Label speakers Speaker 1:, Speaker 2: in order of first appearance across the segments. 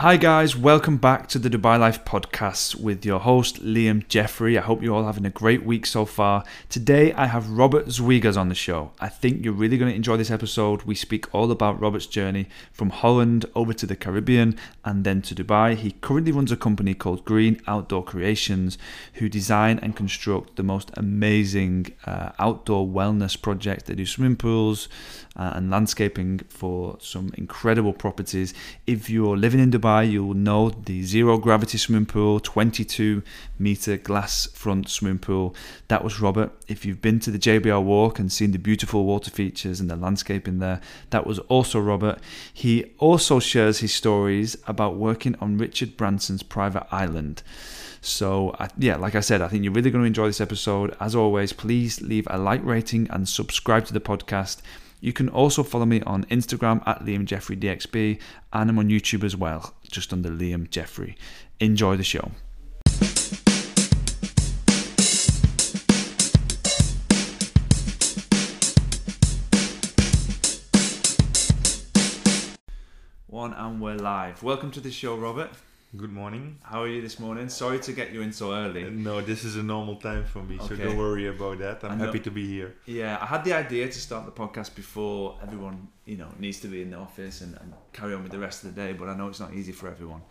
Speaker 1: Hi, guys, welcome back to the Dubai Life podcast with your host Liam Jeffrey. I hope you're all having a great week so far. Today, I have Robert Zwigas on the show. I think you're really going to enjoy this episode. We speak all about Robert's journey from Holland over to the Caribbean and then to Dubai. He currently runs a company called Green Outdoor Creations, who design and construct the most amazing uh, outdoor wellness projects. They do swimming pools uh, and landscaping for some incredible properties. If you're living in Dubai, you'll know the zero gravity swimming pool, 22 meter glass front swimming pool. That was Robert. If you've been to the JBR Walk and seen the beautiful water features and the landscaping there, that was also Robert. He also shares his stories about working on Richard Branson's private island. So, I- yeah, like I said, I think you're really going to enjoy this episode. As always, please leave a like rating and subscribe to the podcast. You can also follow me on Instagram at Liam Jeffrey DXB, and I'm on YouTube as well, just under Liam Jeffrey. Enjoy the show. One and we're live. Welcome to the show, Robert.
Speaker 2: Good morning.
Speaker 1: How are you this morning? Sorry to get you in so
Speaker 2: Uh,
Speaker 1: early.
Speaker 2: No, this is a normal time for me, so
Speaker 1: Okay.
Speaker 2: don't worry about that. I'm
Speaker 1: I know-
Speaker 2: happy to be here.
Speaker 1: Yeah, I had the idea to start the podcast before everyone, you know, needs to be in the office and, and carry on with the rest of the day, but I know it's not easy for everyone.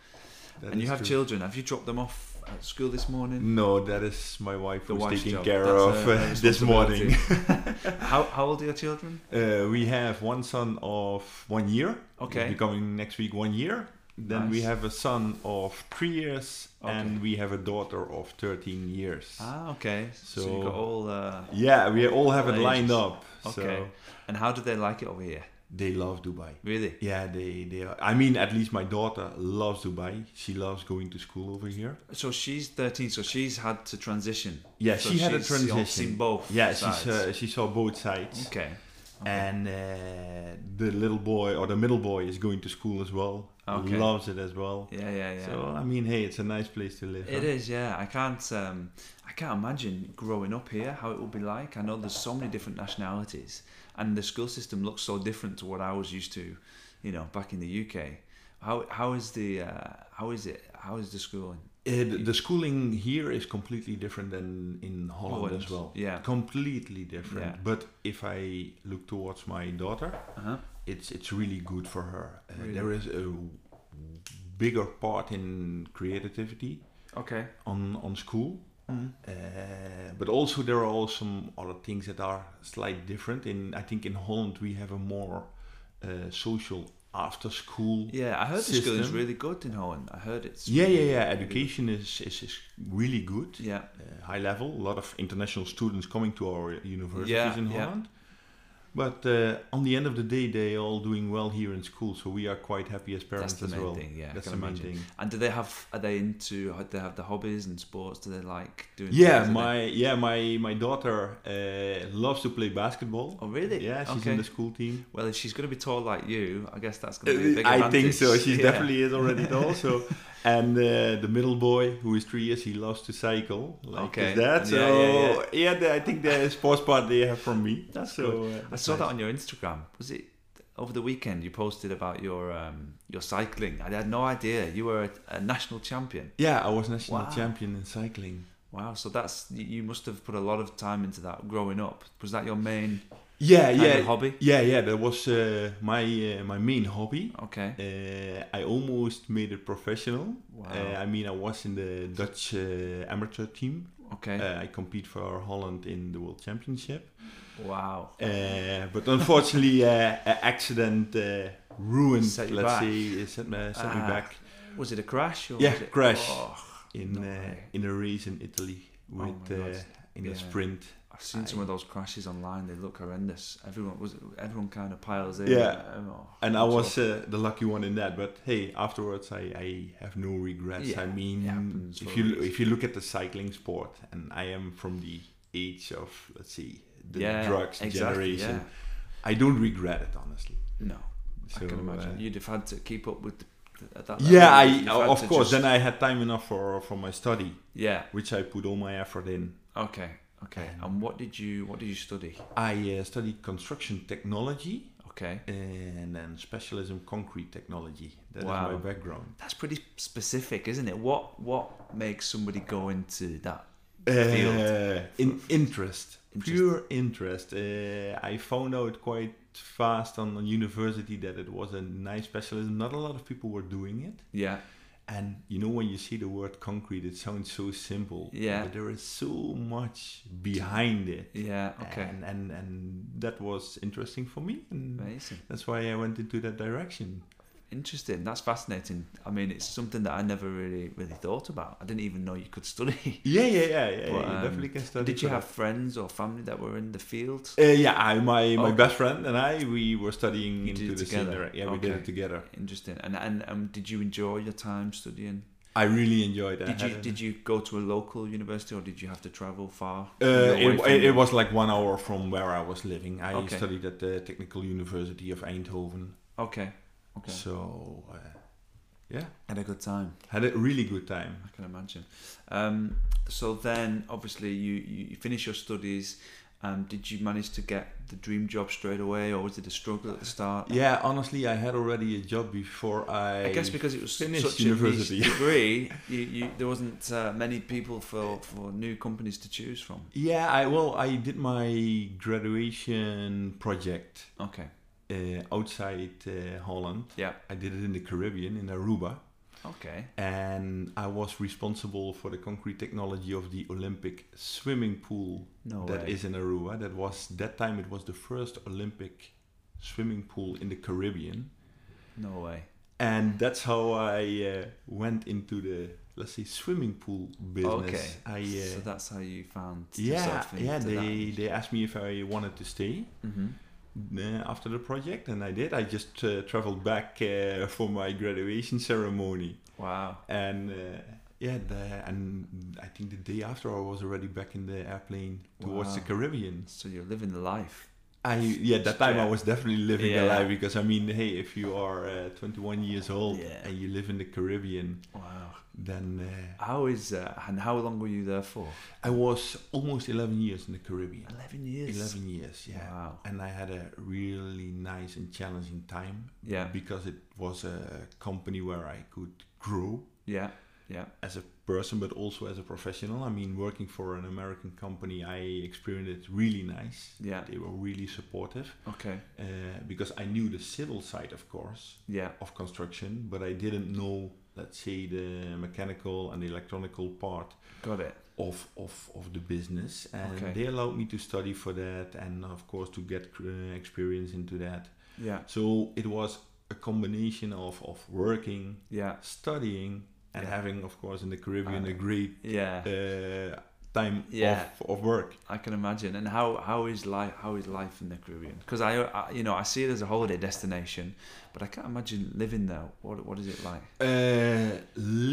Speaker 2: That
Speaker 1: and you
Speaker 2: is
Speaker 1: have
Speaker 2: true.
Speaker 1: children. Have you dropped them off at school this morning?
Speaker 2: No, that is my wife
Speaker 1: The
Speaker 2: who's
Speaker 1: wife's
Speaker 2: taking
Speaker 1: job.
Speaker 2: care
Speaker 1: That's
Speaker 2: of
Speaker 1: her-
Speaker 2: uh,
Speaker 1: her
Speaker 2: this morning.
Speaker 1: how, how old are your children?
Speaker 2: Uh, we have one son of one year.
Speaker 1: Okay.
Speaker 2: He's becoming next week one year. Then we
Speaker 1: Nice.
Speaker 2: have a son of three years,
Speaker 1: Okay.
Speaker 2: and we have a daughter of 13 years.
Speaker 1: Ah, okay. So, you
Speaker 2: So-
Speaker 1: got all. Uh,
Speaker 2: Yeah, we all have it
Speaker 1: All
Speaker 2: lined
Speaker 1: ages.
Speaker 2: up.
Speaker 1: Okay.
Speaker 2: So
Speaker 1: and how do they like it over here?
Speaker 2: they love Dubai.
Speaker 1: Really?
Speaker 2: Yeah, they they. Are, I mean, at least my daughter loves Dubai. She loves going to school over here.
Speaker 1: So she's 13, so she's had to transition.
Speaker 2: Yeah,
Speaker 1: So
Speaker 2: she had a
Speaker 1: she's seen- Seen
Speaker 2: transition.
Speaker 1: both.
Speaker 2: Yeah, she
Speaker 1: sides.
Speaker 2: saw, she saw both sides,
Speaker 1: Okay.
Speaker 2: and uh, the little boy or the middle boy is going to school as well.
Speaker 1: Okay.
Speaker 2: Loves it as well.
Speaker 1: Yeah, yeah, yeah.
Speaker 2: So um, I mean, hey, it's a nice place to live.
Speaker 1: It
Speaker 2: huh?
Speaker 1: is, yeah. I can't, um, I can't imagine growing up here how it will be like. I know there's so many different nationalities, and the school system looks so different to what I was used to, you know, back in the UK. How how is the uh, how is it how is the schooling?
Speaker 2: Uh, the- the schooling here is completely different than in Holland,
Speaker 1: Holland,
Speaker 2: as well.
Speaker 1: yeah.
Speaker 2: completely different.
Speaker 1: Yeah.
Speaker 2: But if I look towards my daughter,
Speaker 1: Uh-huh.
Speaker 2: it's it's really good for her. Uh,
Speaker 1: Really?
Speaker 2: There is a bigger part in creativity
Speaker 1: Okay.
Speaker 2: on on school,
Speaker 1: Mhm.
Speaker 2: uh, but also there are all some other things that are slightly different. In I think in Holland we have a more uh, social after school.
Speaker 1: Yeah, I heard the school is
Speaker 2: System.
Speaker 1: really good in Holland. I heard it's
Speaker 2: Yeah,
Speaker 1: really-
Speaker 2: yeah, yeah. Education is is, is really good.
Speaker 1: yeah.
Speaker 2: uh, high level. A lot of international students coming to our universities
Speaker 1: Yeah,
Speaker 2: in
Speaker 1: yeah.
Speaker 2: Holland. But uh, on the end of the day, they all doing well here in school, so we are quite happy as parents
Speaker 1: That's the
Speaker 2: as
Speaker 1: main
Speaker 2: well.
Speaker 1: thing. Yeah,
Speaker 2: That's
Speaker 1: I
Speaker 2: the
Speaker 1: can
Speaker 2: main
Speaker 1: imagine.
Speaker 2: thing.
Speaker 1: And do they have? Are they into? Do they have the hobbies and sports? Do they like doing?
Speaker 2: Yeah,
Speaker 1: things? Are
Speaker 2: my yeah my my daughter uh, loves to play basketball.
Speaker 1: They, oh really?
Speaker 2: Yeah, she's
Speaker 1: okay.
Speaker 2: in the school team.
Speaker 1: Well, if she's going to be tall like you, I guess that's going to be a big
Speaker 2: Uh, I think so.
Speaker 1: advantage.
Speaker 2: She
Speaker 1: Yeah.
Speaker 2: definitely is already tall. So, and uh, the middle boy, who is three years, he loves to cycle like
Speaker 1: Okay.
Speaker 2: his
Speaker 1: Yeah,
Speaker 2: dad. So,
Speaker 1: yeah, yeah.
Speaker 2: the- I think the sports part they have from me.
Speaker 1: That's
Speaker 2: so.
Speaker 1: good.
Speaker 2: uh,
Speaker 1: I
Speaker 2: that's
Speaker 1: saw
Speaker 2: nice.
Speaker 1: that on your Instagram. Was it over the weekend? You posted about your um, your cycling. I had no idea you were a, a national champion.
Speaker 2: Yeah, I was national
Speaker 1: Wow.
Speaker 2: champion in cycling.
Speaker 1: Wow! So that's you- you must have put a lot of time into that growing up. Was that your main
Speaker 2: Yeah,
Speaker 1: kind
Speaker 2: yeah,
Speaker 1: of hobby?
Speaker 2: yeah, yeah. That was uh, my uh, my main hobby.
Speaker 1: Okay.
Speaker 2: Uh, I almost made it professional.
Speaker 1: Wow.
Speaker 2: Uh, I mean, I was in the Dutch uh, amateur team.
Speaker 1: Okay.
Speaker 2: Uh, I compete for Holland in the World Championship.
Speaker 1: wow.
Speaker 2: Uh, but unforactionally, uh, an accident uh, ruined,
Speaker 1: Set you
Speaker 2: let's
Speaker 1: back.
Speaker 2: say, uh, set, me, set me
Speaker 1: Ah.
Speaker 2: back
Speaker 1: Was it a crash? Or
Speaker 2: yeah,
Speaker 1: was it,
Speaker 2: crash.
Speaker 1: Oh,
Speaker 2: in
Speaker 1: No
Speaker 2: uh,
Speaker 1: way.
Speaker 2: in a race in Italy
Speaker 1: Oh
Speaker 2: with
Speaker 1: my
Speaker 2: uh,
Speaker 1: God.
Speaker 2: in
Speaker 1: Yeah.
Speaker 2: a sprint.
Speaker 1: I've seen some of those crashes online. They look horrendous. Everyone was everyone kind of piles in.
Speaker 2: Yeah.
Speaker 1: Oh,
Speaker 2: And I
Speaker 1: it's
Speaker 2: was
Speaker 1: awful.
Speaker 2: uh, the lucky one in that, but hey, afterwards I, I have no regrets.
Speaker 1: Yeah,
Speaker 2: I
Speaker 1: it
Speaker 2: mean,
Speaker 1: happens
Speaker 2: if
Speaker 1: for a
Speaker 2: you
Speaker 1: reason.
Speaker 2: if you look at the cycling sport, and I am from the age of let's see the
Speaker 1: yeah,
Speaker 2: drugs
Speaker 1: exactly,
Speaker 2: generation,
Speaker 1: yeah.
Speaker 2: I don't regret it honestly.
Speaker 1: No,
Speaker 2: So,
Speaker 1: I can imagine
Speaker 2: uh,
Speaker 1: you'd have had to keep up with. The, at that level,
Speaker 2: yeah, I
Speaker 1: you'd have had
Speaker 2: of
Speaker 1: to
Speaker 2: course.
Speaker 1: just-
Speaker 2: Then I had time enough for for my study,
Speaker 1: Yeah.
Speaker 2: which I put all my effort in.
Speaker 1: Okay. Okay.
Speaker 2: And-
Speaker 1: And what did you What did you study?
Speaker 2: I uh, studied construction technology
Speaker 1: Okay.
Speaker 2: and then specialism concrete technology. That's
Speaker 1: Wow.
Speaker 2: my background.
Speaker 1: That's pretty specific, isn't it? What what makes somebody go into that?
Speaker 2: Uh, in interest,
Speaker 1: Interest.
Speaker 2: pure interest. Uh, I found out quite fast on the university that it was a nice specialism. Not a lot of people were doing it.
Speaker 1: Yeah.
Speaker 2: And you know, when you see the word concrete, it sounds so simple.
Speaker 1: Yeah.
Speaker 2: But there is so much behind it.
Speaker 1: Yeah. Okay.
Speaker 2: And, and and that was interesting for me. And
Speaker 1: Amazing.
Speaker 2: that's why I went into that direction.
Speaker 1: Interesting. That's fascinating. I mean, it's something that I never really really thought about. I didn't even know you could study.
Speaker 2: Yeah, yeah, yeah, yeah.
Speaker 1: But,
Speaker 2: you
Speaker 1: um,
Speaker 2: definitely can study.
Speaker 1: Did you
Speaker 2: for
Speaker 1: have friends or family that were in the field?
Speaker 2: that. Uh, yeah, I, my my
Speaker 1: Okay.
Speaker 2: best friend and I, we were studying
Speaker 1: You did
Speaker 2: into
Speaker 1: it
Speaker 2: the same
Speaker 1: together.
Speaker 2: direc- Yeah, we did
Speaker 1: Okay.
Speaker 2: it together.
Speaker 1: Interesting. And and um, did you enjoy your time studying?
Speaker 2: I really enjoyed it. I
Speaker 1: Did you
Speaker 2: had a-
Speaker 1: did you go to a local university or did you have to travel far?
Speaker 2: Uh,
Speaker 1: away
Speaker 2: it,
Speaker 1: from
Speaker 2: it, it
Speaker 1: your-
Speaker 2: was like one hour from where I was living. I
Speaker 1: Okay.
Speaker 2: studied at the Technical University of Eindhoven.
Speaker 1: okay. Okay.
Speaker 2: So, uh, yeah,
Speaker 1: Had a good time.
Speaker 2: had a really good time.
Speaker 1: I can imagine. Um, so then, obviously, you, you you finish your studies. Um, did you manage to get the dream job straight away, or was it a struggle at the start?
Speaker 2: Yeah, honestly, I had already a job before I.
Speaker 1: I guess because it was
Speaker 2: finished
Speaker 1: such
Speaker 2: university.
Speaker 1: a niche degree, you, you, there wasn't uh, many people for, for new companies to choose from.
Speaker 2: Yeah, I well, I did my graduation project
Speaker 1: Okay.
Speaker 2: uh, outside uh, Holland.
Speaker 1: Yeah.
Speaker 2: I did it in the Caribbean, in Aruba,
Speaker 1: Okay.
Speaker 2: and I was responsible for the concrete technology of the Olympic swimming pool
Speaker 1: No
Speaker 2: that
Speaker 1: way.
Speaker 2: is in Aruba. That was that time it was the first Olympic swimming pool in the Caribbean,
Speaker 1: No way.
Speaker 2: and that's how I uh, went into the let's say swimming pool business. I uh,
Speaker 1: so that's how you found
Speaker 2: yeah,
Speaker 1: yourself
Speaker 2: yeah.
Speaker 1: into
Speaker 2: They they asked me if I wanted to stay
Speaker 1: that. hmm
Speaker 2: uh, after the project, and I did. I just uh, traveled back uh, for my graduation ceremony,
Speaker 1: Wow.
Speaker 2: and uh, yeah, the, and I think the day after I was already back in the airplane towards the
Speaker 1: Wow.
Speaker 2: Caribbean.
Speaker 1: So you're living the life.
Speaker 2: I yeah, that time I was definitely living the
Speaker 1: Yeah.
Speaker 2: life because I mean, hey, if you are uh, 21 years old
Speaker 1: Yeah.
Speaker 2: and you live in the Caribbean,
Speaker 1: Wow.
Speaker 2: then uh,
Speaker 1: How is uh, and how long were you there for?
Speaker 2: I was almost 11 years in the Caribbean.
Speaker 1: Eleven years.
Speaker 2: 11 years, yeah.
Speaker 1: Wow.
Speaker 2: And I had a really nice and challenging time
Speaker 1: Yeah.
Speaker 2: because it was a company where I could grow
Speaker 1: Yeah. Yeah.
Speaker 2: as a person, but also as a professional. I mean, working for an American company, I experienced it really nice.
Speaker 1: Yeah.
Speaker 2: They were really supportive
Speaker 1: Okay.
Speaker 2: uh, because I knew the civil side, of course,
Speaker 1: Yeah.
Speaker 2: of construction, but I didn't know, let's say, the mechanical and electronical part
Speaker 1: Got it.
Speaker 2: of of, of the business and
Speaker 1: Okay.
Speaker 2: they allowed me to study for that and of course to get uh, experience into that
Speaker 1: Yeah.
Speaker 2: so it was a combination of of working
Speaker 1: Yeah.
Speaker 2: studying and
Speaker 1: Yeah.
Speaker 2: having of course in the caribbean
Speaker 1: Uh,
Speaker 2: a great
Speaker 1: Yeah.
Speaker 2: uh, time
Speaker 1: Yeah.
Speaker 2: of, of work
Speaker 1: I can imagine. And how, how is life how is life in the Caribbean? Because I, I you know I see it as a holiday destination, but I can't imagine living there. What what is it like?
Speaker 2: uh,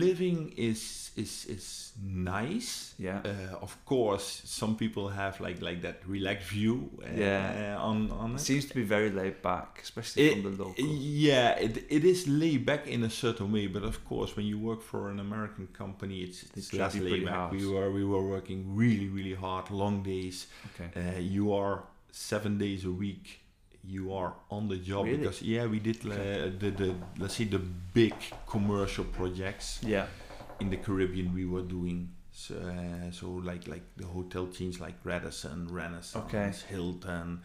Speaker 2: living is is is nice
Speaker 1: Yeah.
Speaker 2: uh, of course some people have like like that relaxed view uh,
Speaker 1: Yeah.
Speaker 2: on on
Speaker 1: It
Speaker 2: it
Speaker 1: seems to be very laid back, especially
Speaker 2: It-
Speaker 1: from the local.
Speaker 2: Yeah, it, it is laid back in a certain way, but of course, when you work for an American company, it's,
Speaker 1: They
Speaker 2: it's
Speaker 1: drive
Speaker 2: less
Speaker 1: you pretty
Speaker 2: laid back.
Speaker 1: hard.
Speaker 2: We were we were working really really hard, long days.
Speaker 1: okay.
Speaker 2: Uh, you are seven days a week. You are on the job
Speaker 1: Really?
Speaker 2: because yeah, we did uh, the the let's say the big commercial projects
Speaker 1: Yeah.
Speaker 2: in the Caribbean we were doing. So, uh, so like like the hotel chains like Radisson, Renaissance,
Speaker 1: Okay.
Speaker 2: Hilton.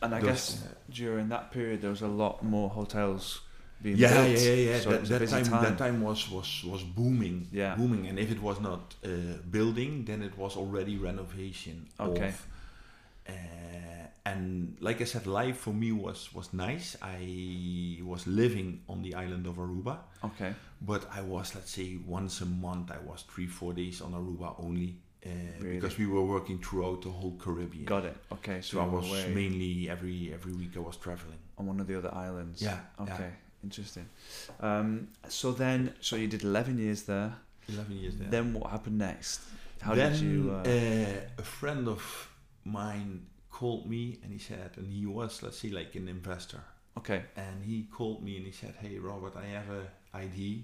Speaker 1: And I
Speaker 2: those,
Speaker 1: guess
Speaker 2: uh,
Speaker 1: during that period there was a lot more hotels being
Speaker 2: yeah,
Speaker 1: built.
Speaker 2: yeah, yeah, yeah.
Speaker 1: So it
Speaker 2: that,
Speaker 1: was a
Speaker 2: that
Speaker 1: busy
Speaker 2: time, that time was was was booming,
Speaker 1: Yeah.
Speaker 2: booming. And if it was not uh, building, then it was already renovation.
Speaker 1: Okay.
Speaker 2: Of, uh, and like I said, life for me was was nice. I was living on the island of Aruba,
Speaker 1: Okay.
Speaker 2: but I was let's say once a month. I was three four days on Aruba only. Uh,
Speaker 1: Really?
Speaker 2: Because we were working throughout the whole Caribbean,
Speaker 1: Got it. Okay. So
Speaker 2: so I
Speaker 1: you were
Speaker 2: was
Speaker 1: away
Speaker 2: mainly every every week I was traveling.
Speaker 1: on one of the other islands.
Speaker 2: Yeah,
Speaker 1: Okay.
Speaker 2: yeah.
Speaker 1: Interesting. Um, so then, so you did eleven years there.
Speaker 2: eleven years there.
Speaker 1: Then what happened next? How
Speaker 2: then, eh,
Speaker 1: did you? Uh,
Speaker 2: a friend of mine called me and he said, and he was, let's say, like an investor.
Speaker 1: okay.
Speaker 2: And he called me and he said, Hey, Robert, I have a idea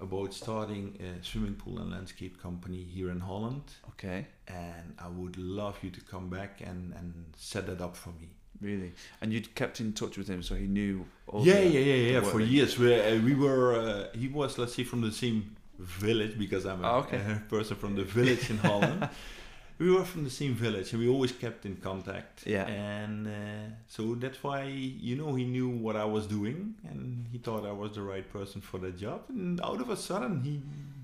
Speaker 2: about starting a swimming pool and landscape company here in Holland.
Speaker 1: Okay.
Speaker 2: And I would love you to come back and, and set that up for me.
Speaker 1: Really, and you'd kept in touch with him, so he knew. All
Speaker 2: yeah,
Speaker 1: the-
Speaker 2: yeah, yeah, yeah.
Speaker 1: the
Speaker 2: For
Speaker 1: work.
Speaker 2: years, we, uh, we were. Uh, he was, let's say, from the same village because I'm a
Speaker 1: Ah, okay.
Speaker 2: a person from the village in Holland. we were from the same village, and we always kept in contact.
Speaker 1: Yeah.
Speaker 2: And uh, so that's why you know he knew what I was doing, and he thought I was the right person for that job. And out of a sudden, he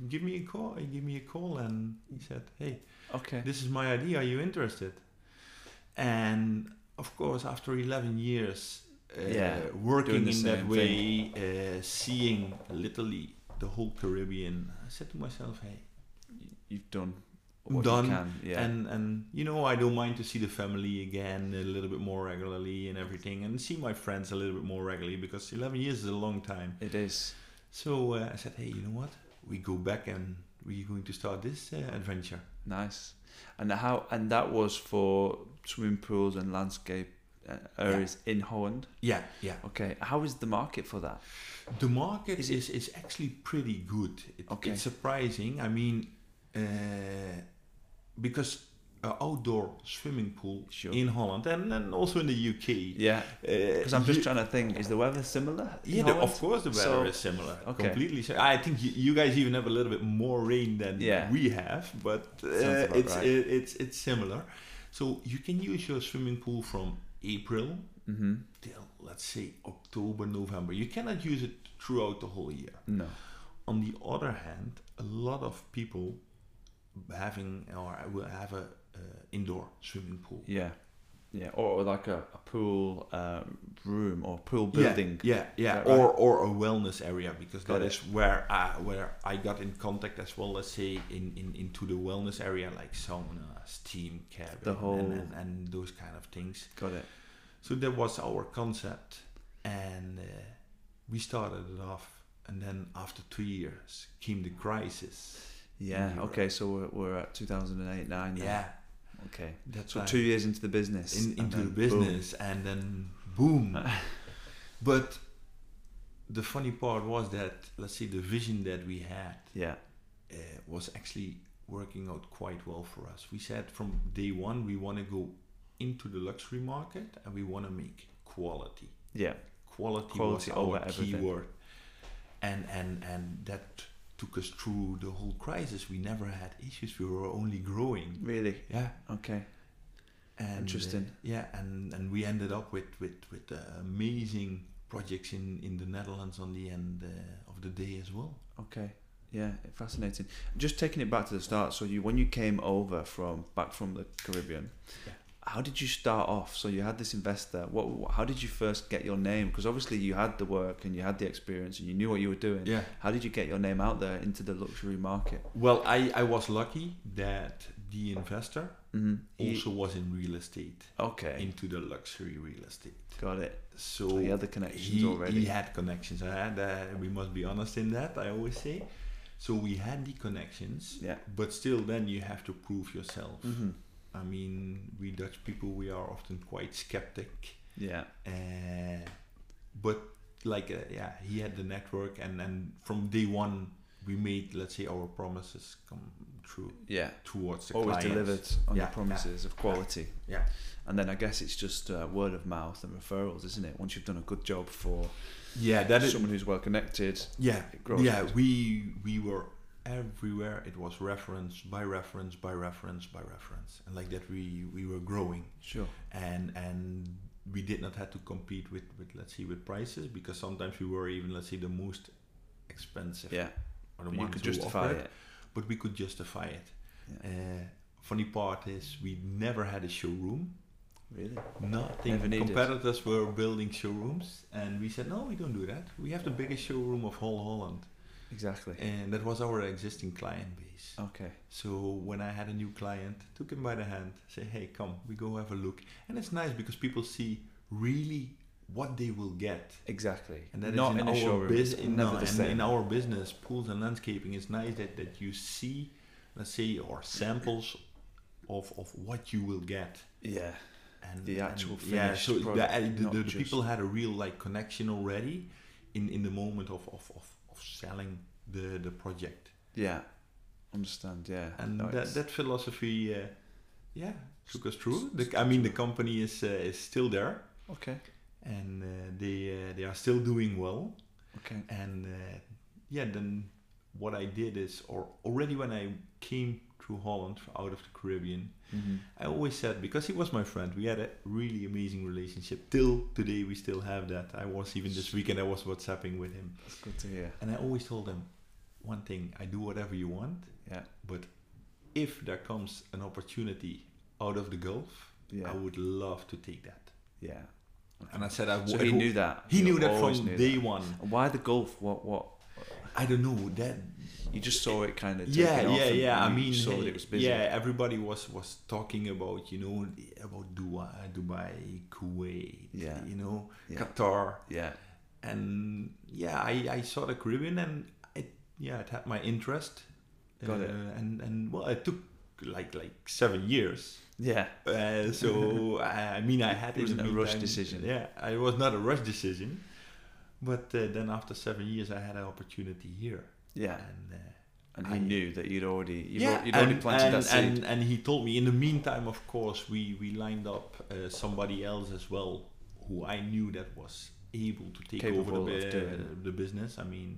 Speaker 2: gave me a call. He gave me a call, and he said, "Hey,
Speaker 1: Okay.
Speaker 2: this is my idea. Are you interested?" And of course, after 11 years uh,
Speaker 1: Yeah, doing
Speaker 2: working
Speaker 1: the
Speaker 2: in that
Speaker 1: same
Speaker 2: way, uh, seeing literally the whole Caribbean, I said to myself, "Hey,
Speaker 1: Y- You've done what
Speaker 2: Done,
Speaker 1: you can. Yeah.
Speaker 2: and and you know, I don't mind to see the family again a little bit more regularly and everything, and see my friends a little bit more regularly because 11 years is a long time."
Speaker 1: it is.
Speaker 2: So uh, I said, "Hey, you know what? We go back and." We're going to start this uh, adventure.
Speaker 1: Nice, and how and that was for swimming pools and landscape uh, areas in Holland.
Speaker 2: Yeah, yeah.
Speaker 1: Okay, how is the market for that?
Speaker 2: The market
Speaker 1: Is
Speaker 2: is,
Speaker 1: it-
Speaker 2: is, actually pretty good. It,
Speaker 1: Okay.
Speaker 2: It's surprising. I mean, uh, because uh, outdoor swimming pool
Speaker 1: Sure.
Speaker 2: in Holland and, and also in the uh, UK.
Speaker 1: Yeah, because
Speaker 2: Because
Speaker 1: I'm just trying to think. Is the weather similar? in
Speaker 2: Yeah, the,
Speaker 1: Holland?
Speaker 2: of course the
Speaker 1: So-
Speaker 2: weather is similar.
Speaker 1: okay.
Speaker 2: Completely. Si- I think you, you guys even have a little bit more rain than
Speaker 1: Yeah.
Speaker 2: we have, but uh,
Speaker 1: Sounds about
Speaker 2: it's
Speaker 1: right.
Speaker 2: it, it's it's similar. So you can use your swimming pool from April
Speaker 1: Mhm.
Speaker 2: till let's say October, November. You cannot use it throughout the whole year.
Speaker 1: No.
Speaker 2: On the other hand, a lot of people having or will have a uh, indoor swimming pool.
Speaker 1: Yeah. Yeah, or like a, a pool uh, room or pool building.
Speaker 2: Yeah, yeah,
Speaker 1: Is that
Speaker 2: or or a wellness area because
Speaker 1: Got
Speaker 2: that
Speaker 1: it.
Speaker 2: is where I where I got in contact as well. Let's say in, in into the wellness area like sauna, steam cabin,
Speaker 1: The whole-
Speaker 2: and, and, and those kind of things.
Speaker 1: Got it.
Speaker 2: So that was our concept, and uh, we started it off. And then after two years came the crisis.
Speaker 1: Yeah.
Speaker 2: Europe.
Speaker 1: Okay. So we're, we're at 2008, nine. now.
Speaker 2: Yeah,
Speaker 1: Okay.
Speaker 2: that's
Speaker 1: So
Speaker 2: why-
Speaker 1: two years into the business.
Speaker 2: in,
Speaker 1: and
Speaker 2: into the
Speaker 1: then boom.
Speaker 2: business and then boom but the funny part was that let's say the vision that we had
Speaker 1: Yeah.
Speaker 2: uh, was actually working out quite well for us we said from day one we want to go into the luxury market and we want to make quality
Speaker 1: Yeah.
Speaker 2: quality,
Speaker 1: Quality
Speaker 2: was
Speaker 1: over
Speaker 2: our key
Speaker 1: everything.
Speaker 2: word and and and that took us through the whole crisis we never had issues we were only growing
Speaker 1: Really.
Speaker 2: yeah
Speaker 1: Okay.
Speaker 2: and uh,
Speaker 1: Interesting.
Speaker 2: yeah, and and we ended up with with with uh, amazing projects in in the Netherlands on the end uh, of the day as well.
Speaker 1: Okay. Yeah. Fascinating. Just taking it back to the start. So you, when you came over from back from the Caribbean,
Speaker 2: Yeah.
Speaker 1: how did you start off? So you had this investor. What? How did you first get your name? Because obviously you had the work and you had the experience and you knew what you were doing.
Speaker 2: Yeah.
Speaker 1: How did you get your name out there into the luxury market?
Speaker 2: Well, I I was lucky that the investor
Speaker 1: Mm-hmm.
Speaker 2: also was in real estate
Speaker 1: okay.
Speaker 2: into the luxury real estate.
Speaker 1: Got it.
Speaker 2: So
Speaker 1: So he had the connections
Speaker 2: he,
Speaker 1: already.
Speaker 2: he had connections. I had, uh, we must be honest in that. I always say. So we had the connections,
Speaker 1: Yeah.
Speaker 2: but still, then you have to prove yourself.
Speaker 1: hmm
Speaker 2: I mean, we Dutch people, we are often quite skeptic.
Speaker 1: Yeah.
Speaker 2: Uh, but like uh, yeah he had the network and and from day one we made let's say our promises come true
Speaker 1: Yeah.
Speaker 2: towards the
Speaker 1: Always
Speaker 2: clients.
Speaker 1: delivered on
Speaker 2: Yeah,
Speaker 1: your promises of quality.
Speaker 2: yeah
Speaker 1: And then I guess it's just uh, word of mouth and referrals, isn't it? Once you've done a good job for
Speaker 2: yeah that is
Speaker 1: someone who's well connected,
Speaker 2: yeah
Speaker 1: it grows.
Speaker 2: yeah we we were everywhere it was reference by reference by reference by reference and like that we we were growing
Speaker 1: Sure.
Speaker 2: and and we did not have to compete with with let's say with prices because sometimes we were even let's say the most expensive
Speaker 1: Yeah.
Speaker 2: or the
Speaker 1: But you
Speaker 2: ones
Speaker 1: could
Speaker 2: who
Speaker 1: justify
Speaker 2: offered
Speaker 1: it.
Speaker 2: but we could justify it.
Speaker 1: Yeah.
Speaker 2: Uh, funny part is we never had a showroom.
Speaker 1: Really?
Speaker 2: Nothing.
Speaker 1: Never needed.
Speaker 2: Competitors were building showrooms, and we said no, we don't do that. We have the biggest showroom of whole Holland,
Speaker 1: Exactly.
Speaker 2: and that was our existing client base.
Speaker 1: Okay.
Speaker 2: So when I had a new client, took him by the hand, say, hey, come, we go have a look, and it's nice because people see really what they will get.
Speaker 1: Exactly.
Speaker 2: And that is
Speaker 1: Not
Speaker 2: in,
Speaker 1: in, a
Speaker 2: our
Speaker 1: showroom. it's
Speaker 2: bus- in,
Speaker 1: never
Speaker 2: no,
Speaker 1: the
Speaker 2: and
Speaker 1: same.
Speaker 2: in our business, pools and landscaping, it's nice that, that you see, let's say, or samples of, of what you will get.
Speaker 1: yeah.
Speaker 2: And
Speaker 1: The actual
Speaker 2: and, yeah,
Speaker 1: finished
Speaker 2: so the-
Speaker 1: product,
Speaker 2: uh, the,
Speaker 1: not
Speaker 2: the, the
Speaker 1: just-
Speaker 2: people had a real like connection already in, in the moment of, of, of, of selling the, the project.
Speaker 1: Yeah. Understand. Yeah.
Speaker 2: And
Speaker 1: No,
Speaker 2: that,
Speaker 1: it's-
Speaker 2: that philosophy, uh, yeah, took us through. The, I mean, the company is uh, is still there.
Speaker 1: Okay.
Speaker 2: and uh, they uh, they are still doing well.
Speaker 1: Okay.
Speaker 2: And uh, yeah, then what I did is, or already when I came to Holland out of the Caribbean, I always said because he was my friend, we had a really amazing relationship. Till today, we still have that. I was even this weekend I was WhatsApping with him,
Speaker 1: That's good to hear.
Speaker 2: and I always told him one thing: I do whatever you want,
Speaker 1: Yeah.
Speaker 2: but if there comes an opportunity out of the Gulf,
Speaker 1: Yeah.
Speaker 2: I would love to take that.
Speaker 1: Yeah.
Speaker 2: And I said, I
Speaker 1: So
Speaker 2: would-
Speaker 1: he knew that.
Speaker 2: He knew that
Speaker 1: always
Speaker 2: from
Speaker 1: knew
Speaker 2: day
Speaker 1: that.
Speaker 2: one.
Speaker 1: And Why the Gulf? What? What?
Speaker 2: I don't know that.
Speaker 1: You just saw it kind of.
Speaker 2: Yeah,
Speaker 1: taking off
Speaker 2: yeah,
Speaker 1: and
Speaker 2: yeah. I
Speaker 1: you
Speaker 2: mean,
Speaker 1: saw
Speaker 2: hey,
Speaker 1: that it was busy.
Speaker 2: yeah. Everybody was was talking about you know about Dubai, Dubai, Kuwait,
Speaker 1: Yeah.
Speaker 2: you know
Speaker 1: Yeah.
Speaker 2: Qatar,
Speaker 1: Yeah.
Speaker 2: and yeah, I I saw the Caribbean and it yeah it had my interest. Uh,
Speaker 1: Got it.
Speaker 2: And and well, it took like like seven years.
Speaker 1: Yeah.
Speaker 2: Uh, so I I mean, I had
Speaker 1: It wasn't
Speaker 2: in the
Speaker 1: a rush
Speaker 2: meantime-
Speaker 1: decision.
Speaker 2: Yeah, I- it was not a rush decision, but uh, then after seven years, I had an opportunity here,
Speaker 1: Yeah.
Speaker 2: and. Uh,
Speaker 1: And he
Speaker 2: I-
Speaker 1: knew that you'd already you'd, al- you'd already
Speaker 2: and-
Speaker 1: planted
Speaker 2: and,
Speaker 1: that seed.
Speaker 2: And, and he told me in the meantime, of course, we, we lined up uh, somebody else as well, who I knew that was able to take
Speaker 1: Capable
Speaker 2: over the,
Speaker 1: of
Speaker 2: bu-
Speaker 1: doing.
Speaker 2: the business. I mean,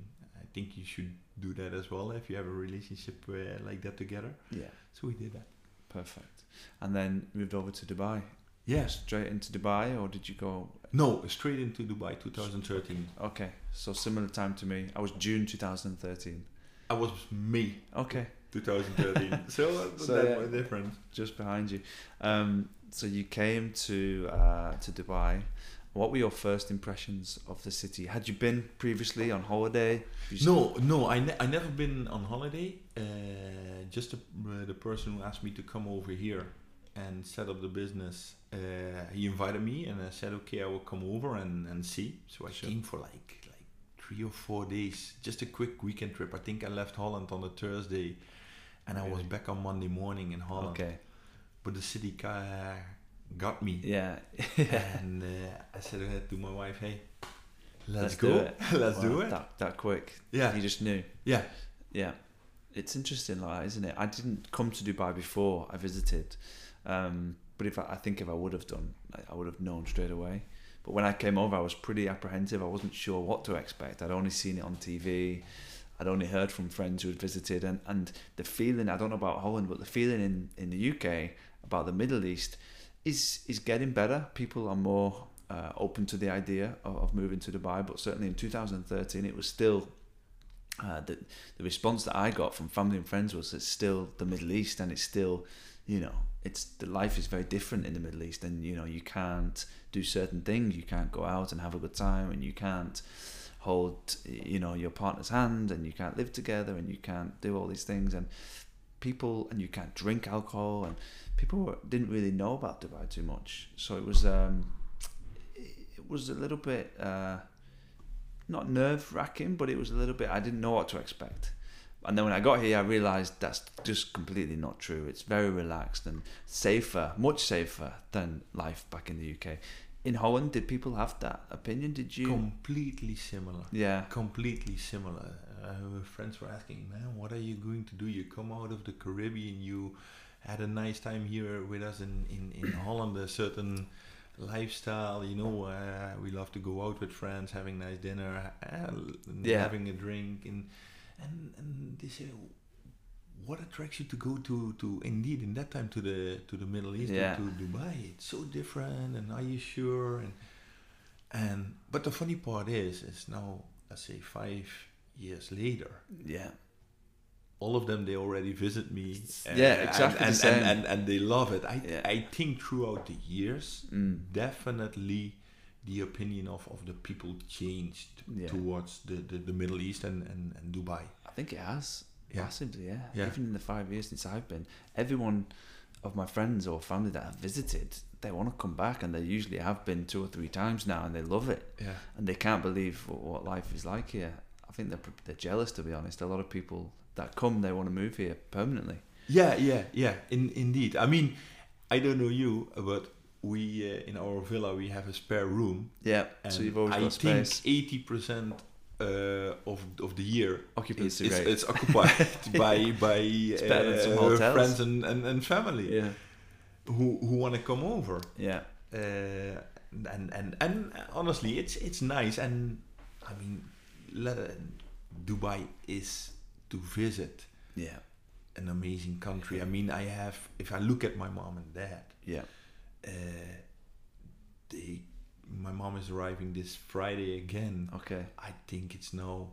Speaker 2: I think you should do that as well if you have a relationship uh, like that together.
Speaker 1: yeah.
Speaker 2: So we did that.
Speaker 1: Perfect. And then moved over to Dubai.
Speaker 2: Yes.
Speaker 1: Straight into Dubai, or did you go?
Speaker 2: No, straight into Dubai, 2013.
Speaker 1: Okay. So similar time to me. I was June 2013.
Speaker 2: I was May
Speaker 1: Okay.
Speaker 2: 2013. so uh,
Speaker 1: So,
Speaker 2: that
Speaker 1: yeah.
Speaker 2: was different.
Speaker 1: just behind you. Um, so you came to uh, to Dubai. What were your first impressions of the city? Had you been previously on holiday? Have you s-
Speaker 2: No, no, I, ne- I never been on holiday. Uh, just the, uh, the person who asked me to come over here and set up the business, uh, he invited me, and I said, okay, I will come over and, and see. So I
Speaker 1: Sure.
Speaker 2: came for like like three or four days, just a quick weekend trip. I think I left Holland on a Thursday, and I was
Speaker 1: Really?
Speaker 2: back on Monday morning in Holland.
Speaker 1: Okay.
Speaker 2: But the city ca- got me,
Speaker 1: Yeah. Let's,
Speaker 2: and uh, I said uh, to my wife, hey, let's, go, let's
Speaker 1: Wow,
Speaker 2: do it.
Speaker 1: That, that quick.
Speaker 2: Yeah,
Speaker 1: You just knew.
Speaker 2: yeah.
Speaker 1: Yeah. It's interesting, like, that, isn't it? I didn't come to Dubai before I visited, um, but if I, I think if I would have done, I, I would have known straight away. But when I came over, I was pretty apprehensive. I wasn't sure what to expect. I'd only seen it on TV. I'd only heard from friends who had visited, and, and the feeling I don't know about Holland, but the feeling in, in the UK about the Middle East is is getting better. People are more uh, open to the idea of, of moving to Dubai, but certainly in 2013, it was still uh, the the response that I got from family and friends was it's still the Middle East and it's still, you know, it's the life is very different in the Middle East and you know you can't do certain things, you can't go out and have a good time, and you can't hold you know your partner's hand, and you can't live together, and you can't do all these things, and people and you can't drink alcohol, and people were, didn't really know about Dubai too much, so it was um, it was a little bit. Uh, not nerve wracking, but it was a little bit. I didn't know what to expect. And then when I got here, I realised that's just completely not true. It's very relaxed and safer, much safer than life back in the UK. In Holland, did people have that opinion? Did you?
Speaker 2: completely similar
Speaker 1: Yeah,
Speaker 2: completely similar uh, friends were asking man what are you going to do you come out of the caribbean you had a nice time here with us in in, in holland a certain lifestyle you know uh, we love to go out with friends having nice dinner uh,
Speaker 1: Yeah.
Speaker 2: having a drink and and and they say what attracts you to go to to indeed in that time to the to the middle east
Speaker 1: Yeah.
Speaker 2: to dubai it's so different and are you sure and and but the funny part is, is now let's say five years later,
Speaker 1: yeah,
Speaker 2: all of them they already visit me. uh,
Speaker 1: Yeah, exactly the
Speaker 2: And, and,
Speaker 1: same.
Speaker 2: and, and, and they love it. I
Speaker 1: Yeah.
Speaker 2: I think throughout the years,
Speaker 1: mm,
Speaker 2: definitely the opinion of, of the people changed
Speaker 1: Yeah.
Speaker 2: towards the, the, the Middle East and, and, and Dubai.
Speaker 1: I think it has
Speaker 2: Yeah.
Speaker 1: massively. Yeah.
Speaker 2: Yeah.
Speaker 1: even in the five years since I've been, everyone of my friends or family that I've visited, they want to come back, and they usually have been two or three times now, and they love it.
Speaker 2: Yeah.
Speaker 1: and they can't believe what, what life is like here. I think they're pr- they're jealous, to be honest. A lot of people that come, they want to move here permanently.
Speaker 2: Yeah, yeah, yeah. In indeed. I mean, I don't know you, but we uh, in our villa we have a spare room
Speaker 1: Yeah.
Speaker 2: And
Speaker 1: so you've always
Speaker 2: I
Speaker 1: got
Speaker 2: think
Speaker 1: space.
Speaker 2: eighty percent uh, of of the year is,
Speaker 1: Occupancy
Speaker 2: it's,
Speaker 1: rate.
Speaker 2: it's occupied by by
Speaker 1: better than some
Speaker 2: uh,
Speaker 1: hotels.
Speaker 2: friends and, and, and family
Speaker 1: yeah.
Speaker 2: who who want to come over.
Speaker 1: Yeah.
Speaker 2: Uh, and and and honestly, it's it's nice. And I mean, let, uh, Dubai is to visit
Speaker 1: Yeah.
Speaker 2: an amazing country. I mean, I have if I look at my mom and dad,
Speaker 1: Yeah.
Speaker 2: uh, they my mom is arriving this Friday again.
Speaker 1: Okay.
Speaker 2: I think it's now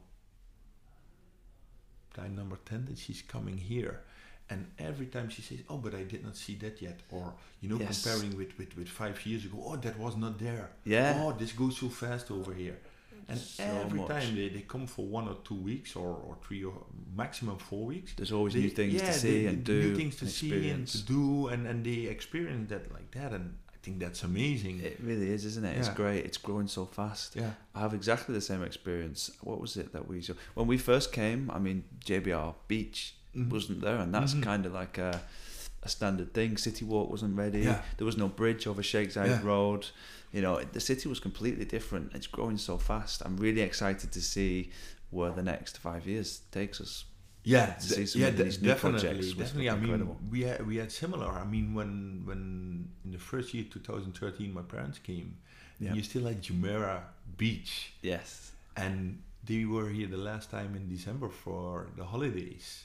Speaker 2: time number 10 that she's coming here. And every time she says, Oh, but I did not see that yet. Or, you know,
Speaker 1: Yes.
Speaker 2: comparing with, with, with five years ago, Oh, that was not there.
Speaker 1: Yeah.
Speaker 2: Oh, this goes so fast over here. And
Speaker 1: So
Speaker 2: every
Speaker 1: much.
Speaker 2: time they, they come for one or two weeks or, or three or maximum four weeks.
Speaker 1: There's always new
Speaker 2: they-
Speaker 1: things
Speaker 2: yeah,
Speaker 1: to
Speaker 2: they-
Speaker 1: see
Speaker 2: they-
Speaker 1: and do.
Speaker 2: New things to
Speaker 1: and
Speaker 2: see and to
Speaker 1: experience.
Speaker 2: do. And, and they experience that like that. And I think that's amazing.
Speaker 1: It really is, isn't it? It's
Speaker 2: Yeah.
Speaker 1: great. It's growing so fast.
Speaker 2: yeah.
Speaker 1: I have exactly the same experience. What was it that we saw when we first came? I mean, JBR Beach
Speaker 2: Mhm.
Speaker 1: wasn't there, and that's
Speaker 2: Mhm.
Speaker 1: kind of like a, a standard thing. City Walk wasn't ready.
Speaker 2: Yeah.
Speaker 1: There was no bridge over Shakeside
Speaker 2: Yeah.
Speaker 1: Road. You know, it- the city was completely different. It's growing so fast. I'm really excited to see where the next five years takes us.
Speaker 2: yeah,
Speaker 1: to
Speaker 2: de-
Speaker 1: see some
Speaker 2: yeah,
Speaker 1: of
Speaker 2: de-
Speaker 1: these new
Speaker 2: definitely,
Speaker 1: projects was
Speaker 2: definitely. I mean,
Speaker 1: incredible.
Speaker 2: we had, we had similar. I mean, when when in the first year, 2013, my parents came,
Speaker 1: Yeah.
Speaker 2: and you still had Jumeirah Beach,
Speaker 1: Yes.
Speaker 2: and they were here the last time in December for the holidays,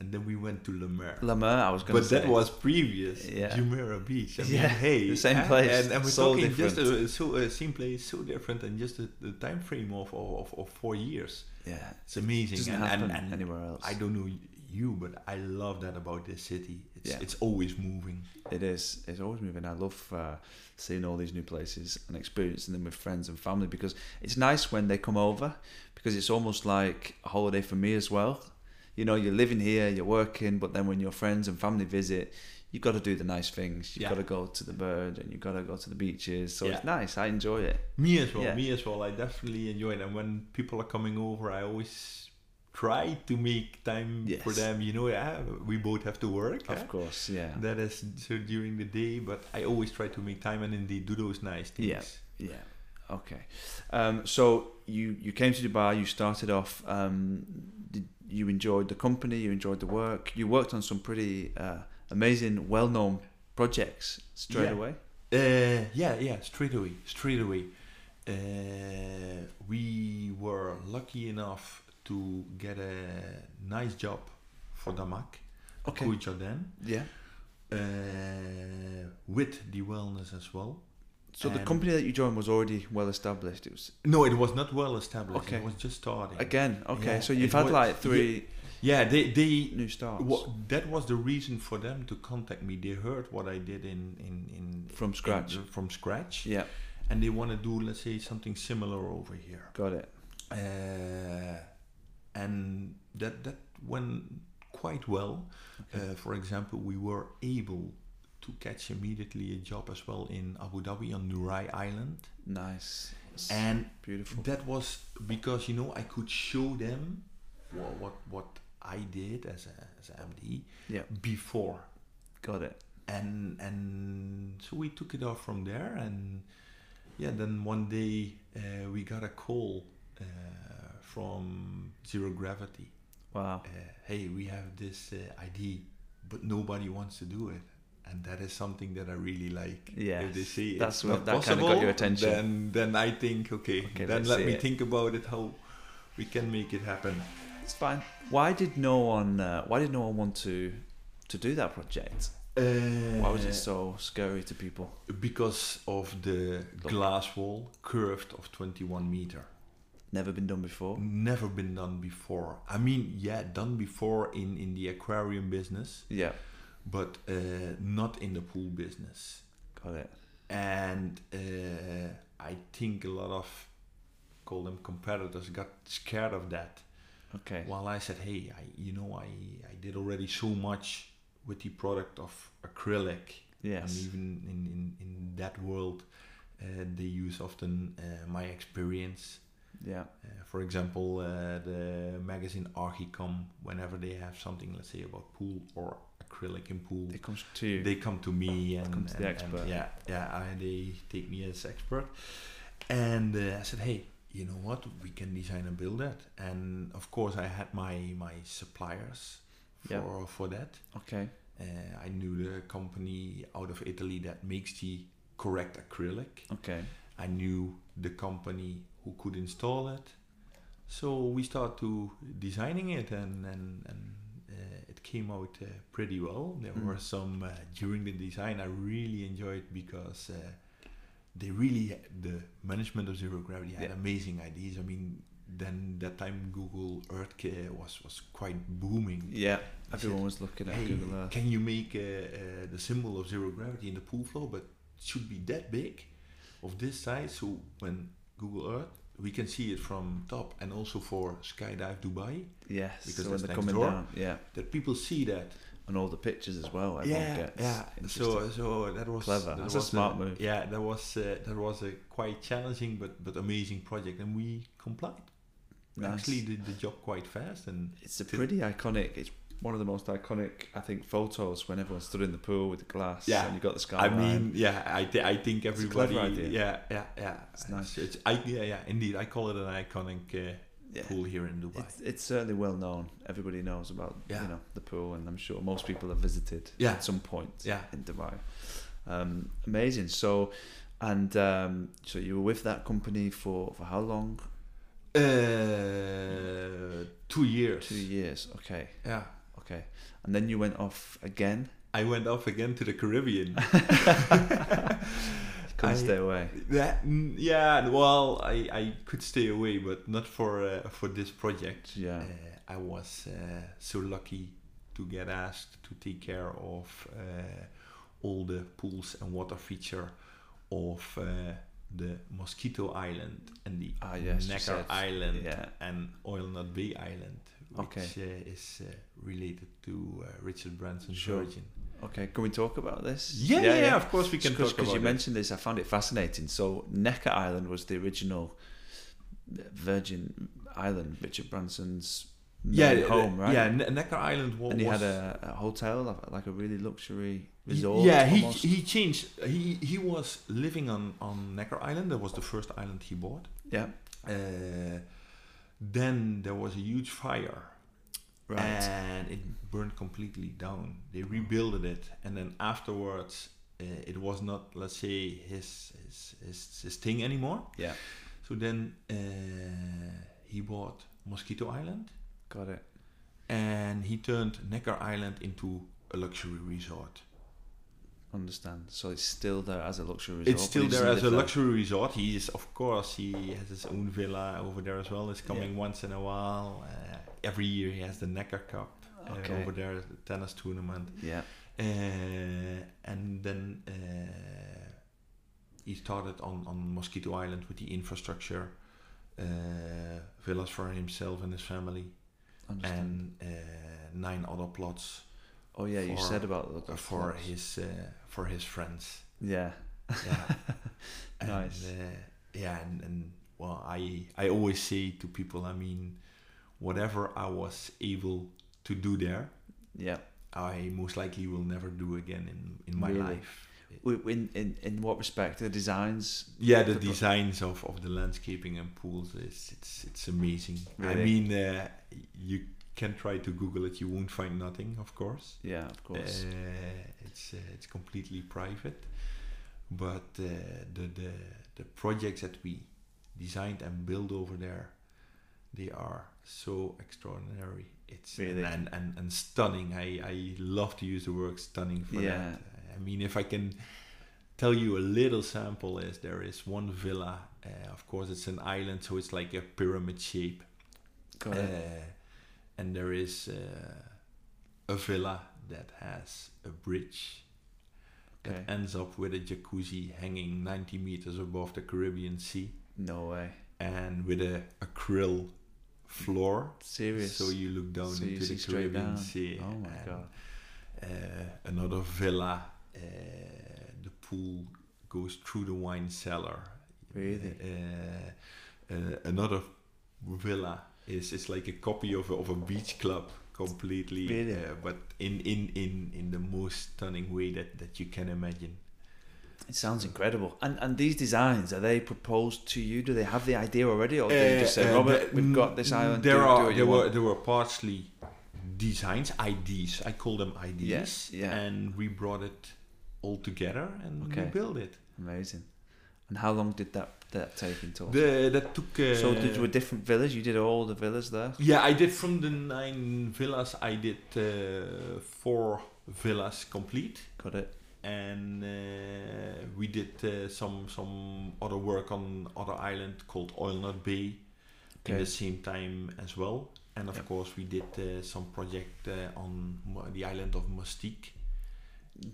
Speaker 2: and then we went to Le Maire.
Speaker 1: La Mer, I was going to
Speaker 2: but
Speaker 1: say.
Speaker 2: that was previous
Speaker 1: Yeah.
Speaker 2: Jumeirah Beach. I mean,
Speaker 1: Yeah,
Speaker 2: hey,
Speaker 1: the same
Speaker 2: eh?
Speaker 1: place,
Speaker 2: and, and we're
Speaker 1: so
Speaker 2: talking just
Speaker 1: different.
Speaker 2: a, so a same place, so different, and just a, the time frame of, of of four years.
Speaker 1: yeah.
Speaker 2: It's amazing,
Speaker 1: Doesn't
Speaker 2: and, and-
Speaker 1: happen
Speaker 2: and
Speaker 1: anywhere else.
Speaker 2: I don't know y- you, but I love that about this city. It's
Speaker 1: Yeah.
Speaker 2: it's always moving.
Speaker 1: It is. It's always moving. I love uh, seeing all these new places and experiencing them with friends and family because it's nice when they come over because it's almost like a holiday for me as well. You know, you're living here, you're working, but then when your friends and family visit, you've got to do the nice things. You've
Speaker 2: Yeah.
Speaker 1: got to go to the bird and you've got to go to the beaches. So it's
Speaker 2: Yeah.
Speaker 1: nice. I enjoy it.
Speaker 2: Me as well.
Speaker 1: Yeah.
Speaker 2: Me as well. I definitely enjoy it. And when people are coming over, I always try to make time for
Speaker 1: Yes.
Speaker 2: them. You know, yeah, we both have to work. eh?
Speaker 1: Of course, yeah.
Speaker 2: That is so during the day, but I always try to make time and indeed do those nice things.
Speaker 1: Yeah. Yeah. Okay. Um, so you you came to Dubai. You started off. Um, did, you enjoyed the company. You enjoyed the work. You worked on some pretty uh, amazing, well-known projects straight
Speaker 2: Yeah.
Speaker 1: away.
Speaker 2: Uh, yeah, yeah, straight away, straight away. Uh, we were lucky enough to get a nice job for Damak,
Speaker 1: Okay.
Speaker 2: Kooi Jordan,
Speaker 1: Yeah.
Speaker 2: uh, with the wellness as well.
Speaker 1: So the
Speaker 2: And-
Speaker 1: company that you joined was already well established. It was
Speaker 2: No, it was not well established.
Speaker 1: Okay.
Speaker 2: It was just starting.
Speaker 1: again okay.
Speaker 2: Yeah,
Speaker 1: so you've
Speaker 2: it
Speaker 1: had
Speaker 2: was-
Speaker 1: like three
Speaker 2: Yeah, they they
Speaker 1: new starts
Speaker 2: wha- that was the reason for them to contact me. They heard what I did in in in
Speaker 1: from scratch.
Speaker 2: in- from scratch,
Speaker 1: yeah.
Speaker 2: and they want to do let's say something similar over here.
Speaker 1: Got it.
Speaker 2: uh, and that that went quite well. Uh, for example, we were able to catch immediately a job as well in Abu Dhabi on Nurai Island,
Speaker 1: Nice. It's
Speaker 2: and
Speaker 1: beautiful.
Speaker 2: that was because you know I could show them what what, what I did as a as a MD
Speaker 1: Yeah.
Speaker 2: before
Speaker 1: Got it.
Speaker 2: and and so we took it off from there and yeah then one day uh, we got a call uh, from zero gravity
Speaker 1: Wow.
Speaker 2: uh, hey we have this uh, ID but nobody wants to do it and that is something that I really like if they
Speaker 1: Yes,
Speaker 2: say
Speaker 1: that's
Speaker 2: it's
Speaker 1: what-
Speaker 2: not
Speaker 1: that kinda
Speaker 2: possible
Speaker 1: got your attention.
Speaker 2: then then I think okay,
Speaker 1: Okay,
Speaker 2: then
Speaker 1: let's
Speaker 2: let
Speaker 1: see
Speaker 2: me
Speaker 1: it.
Speaker 2: think about it how we can make it happen
Speaker 1: It's fine. Why did no one? Uh, why did no one want to to do that project?
Speaker 2: uh,
Speaker 1: Why was it so scary to people?
Speaker 2: because of the glass wall curved of 21 meter
Speaker 1: Never been done before.
Speaker 2: never been done before i mean yeah done before in in the aquarium business
Speaker 1: Yeah,
Speaker 2: but uh, not in the pool business
Speaker 1: got it.
Speaker 2: and uh, i think a lot of call them competitors got scared of that
Speaker 1: Okay.
Speaker 2: while i said hey i you know i i did already so much with the product of acrylic
Speaker 1: Yes.
Speaker 2: and even in, in, in that world, uh, they use often uh, my experience.
Speaker 1: Yeah.
Speaker 2: Uh, for example, uh, the magazine Archicom, whenever they have something, let's say about pool or acrylic in pool,
Speaker 1: It comes to you.
Speaker 2: they come to me and,
Speaker 1: come to the
Speaker 2: and- and
Speaker 1: expert.
Speaker 2: yeah, yeah, I, they take me as expert. And uh, I said, hey, you know what? We can design and build that. And of course, I had my my suppliers for
Speaker 1: Yeah.
Speaker 2: for that.
Speaker 1: okay.
Speaker 2: Uh, I knew the company out of Italy that makes the correct acrylic.
Speaker 1: Okay.
Speaker 2: I knew the company who could install it. So we start to designing it, and and, and uh, it came out uh, pretty well. There
Speaker 1: Mm.
Speaker 2: were some uh, during the design I really enjoyed because uh, they really the management of zero gravity had
Speaker 1: Yeah.
Speaker 2: amazing ideas. I mean, then that time Google Earth ca- was was quite booming.
Speaker 1: Yeah.
Speaker 2: He
Speaker 1: Everyone
Speaker 2: said,
Speaker 1: was looking at
Speaker 2: Hey,
Speaker 1: Google Earth.
Speaker 2: can you make uh, uh, the symbol of zero gravity in the pool floor, but it should be that big, of this size, so when Google Earth, we can see it from top, and also for Skydive Dubai,
Speaker 1: Yes.
Speaker 2: because
Speaker 1: so when
Speaker 2: that's
Speaker 1: they're
Speaker 2: next
Speaker 1: coming
Speaker 2: door.
Speaker 1: down. Yeah.
Speaker 2: that people see that.
Speaker 1: And all the pictures as well. Everyone
Speaker 2: yeah,
Speaker 1: gets
Speaker 2: yeah.
Speaker 1: interested.
Speaker 2: So, so that was
Speaker 1: Clever.
Speaker 2: That
Speaker 1: That's a
Speaker 2: was
Speaker 1: smart move.
Speaker 2: Yeah, that was uh, that was a quite challenging but but amazing project, and we complied. We
Speaker 1: Nice.
Speaker 2: Actually, did the job quite fast, and
Speaker 1: It's a pretty iconic. It's one of the most iconic, I think, photos when everyone stood in the pool with the glass.
Speaker 2: Yeah.
Speaker 1: And you got the sky.
Speaker 2: I mean, yeah, I, th- I think
Speaker 1: It's a clever
Speaker 2: everybody,
Speaker 1: idea.
Speaker 2: yeah, yeah, yeah.
Speaker 1: It's nice.
Speaker 2: It's, it's- I, yeah, yeah, indeed. I call it an iconic uh,
Speaker 1: yeah.
Speaker 2: pool here in Dubai.
Speaker 1: It's, it's certainly well known. Everybody knows about
Speaker 2: Yeah.
Speaker 1: you know the pool, and I'm sure most people have visited
Speaker 2: Yeah.
Speaker 1: at some point
Speaker 2: yeah,
Speaker 1: in Dubai. Um, amazing. So, and um, so you were with that company for for how long?
Speaker 2: uh, two years.
Speaker 1: Two years. Okay.
Speaker 2: Yeah,
Speaker 1: Okay. And then you went off again.
Speaker 2: I went off again to the Caribbean.
Speaker 1: Couldn't
Speaker 2: I-
Speaker 1: stay away.
Speaker 2: that, mm, yeah, well, I, I could stay away, but not for uh, for this project.
Speaker 1: Yeah.
Speaker 2: Uh, I was uh, so lucky to get asked to take care of uh, all the pools and water feature of uh, the Mosquito Island and the
Speaker 1: Ah, yes, you said.
Speaker 2: Necker Island
Speaker 1: Yeah.
Speaker 2: and Oil Nut Bay Island, which
Speaker 1: Okay.
Speaker 2: uh, is uh, related to uh, Richard Branson's
Speaker 1: Sure.
Speaker 2: Virgin.
Speaker 1: Okay. Can we talk about this?
Speaker 2: Yeah, yeah, of course we can talk
Speaker 1: Because
Speaker 2: about
Speaker 1: you
Speaker 2: it.
Speaker 1: mentioned this, I found it fascinating. So Necker Island was the original Virgin Island, Richard Branson's
Speaker 2: yeah,
Speaker 1: main
Speaker 2: the-
Speaker 1: home, right?
Speaker 2: Yeah, Ne- Necker Island wa- was.
Speaker 1: and he had a, a hotel, like- like a really luxury resort.
Speaker 2: yeah, he
Speaker 1: almost.
Speaker 2: he changed. He he was living on on Necker Island. That was the first island he bought.
Speaker 1: yeah,
Speaker 2: Uh, then there was a huge fire
Speaker 1: right.
Speaker 2: and it burned completely down. They rebuilt it, and then afterwards, uh, it was not, let's say, his his his, his thing anymore.
Speaker 1: yeah,
Speaker 2: So then uh, he bought Mosquito Island,
Speaker 1: got it.
Speaker 2: and he turned Necker Island into a luxury resort.
Speaker 1: Understand. So it's still there as a luxury resort.
Speaker 2: it's
Speaker 1: but
Speaker 2: still
Speaker 1: he
Speaker 2: there
Speaker 1: doesn't
Speaker 2: as a
Speaker 1: live
Speaker 2: luxury resort. He is, of course, he has his own villa over there as well. It's coming once in a while. Uh, every year he has the Necker Cup uh,
Speaker 1: Okay.
Speaker 2: over there, the tennis tournament.
Speaker 1: Yeah,
Speaker 2: Uh, and then uh, he started on, on Mosquito Island with the infrastructure, uh, villas for himself and his family,
Speaker 1: understand.
Speaker 2: and uh, nine other plots
Speaker 1: oh yeah, you
Speaker 2: for-
Speaker 1: said about the
Speaker 2: for
Speaker 1: clubs.
Speaker 2: his uh, for his friends.
Speaker 1: Yeah,
Speaker 2: yeah.
Speaker 1: Nice.
Speaker 2: And, uh, yeah, and, and well, I I always say to people, I mean, whatever I was able to do there,
Speaker 1: yeah.
Speaker 2: I most likely will never do again in in my
Speaker 1: Really?
Speaker 2: life.
Speaker 1: W- In in in what respect the designs?
Speaker 2: Yeah, the
Speaker 1: The pro-
Speaker 2: designs of, of the landscaping and pools is it's it's amazing.
Speaker 1: Really?
Speaker 2: I mean, uh, you can try to Google it, you won't find nothing, of course.
Speaker 1: Yeah, of course.
Speaker 2: Uh, it's uh, it's completely private, but uh, the the the projects that we designed and built over there, they are so extraordinary. It's
Speaker 1: Really?
Speaker 2: and, and and stunning. I I love to use the word stunning for
Speaker 1: Yeah.
Speaker 2: that. I mean, if I can tell you a little sample is there is one villa. Uh, of course, it's an island, so it's like a pyramid shape.
Speaker 1: got it.
Speaker 2: Uh, and there is uh, a villa that has a bridge
Speaker 1: Okay.
Speaker 2: that ends up with a jacuzzi hanging 90 meters above the Caribbean Sea
Speaker 1: No way.
Speaker 2: and with a acryl floor.
Speaker 1: Serious.
Speaker 2: So you look down
Speaker 1: So you
Speaker 2: into
Speaker 1: see
Speaker 2: the
Speaker 1: straight
Speaker 2: Caribbean
Speaker 1: down.
Speaker 2: Sea.
Speaker 1: Oh my
Speaker 2: and,
Speaker 1: God.
Speaker 2: Uh, another villa. Uh, the pool goes through the wine cellar.
Speaker 1: Really?
Speaker 2: Uh, uh, another villa is it's like a copy of a, of a beach club completely,
Speaker 1: Really?
Speaker 2: uh, but in, in in in the most stunning way that that you can imagine.
Speaker 1: It sounds incredible. And and these designs are they proposed to you? Do they have the idea already, or do Oh, you just say,
Speaker 2: Uh, uh,
Speaker 1: Robert,
Speaker 2: the-
Speaker 1: we've got this island?
Speaker 2: There
Speaker 1: do,
Speaker 2: are
Speaker 1: do what you
Speaker 2: there were
Speaker 1: want.
Speaker 2: there were partially designs IDs. I call them IDs.
Speaker 1: Yes, yeah.
Speaker 2: And we brought it all together and
Speaker 1: Okay.
Speaker 2: we built it.
Speaker 1: Amazing. And how long did that that take in total?
Speaker 2: The, that took. Uh,
Speaker 1: so did you a different village? You did all the villas there.
Speaker 2: Yeah, I did from the nine villas. I did uh, four villas complete,
Speaker 1: Got it.
Speaker 2: and uh, we did uh, some some other work on other island called Oil Nut Bay, in
Speaker 1: Okay.
Speaker 2: the same time as well. And of
Speaker 1: Yep.
Speaker 2: course, we did uh, some project uh, on Mo- the island of Mustique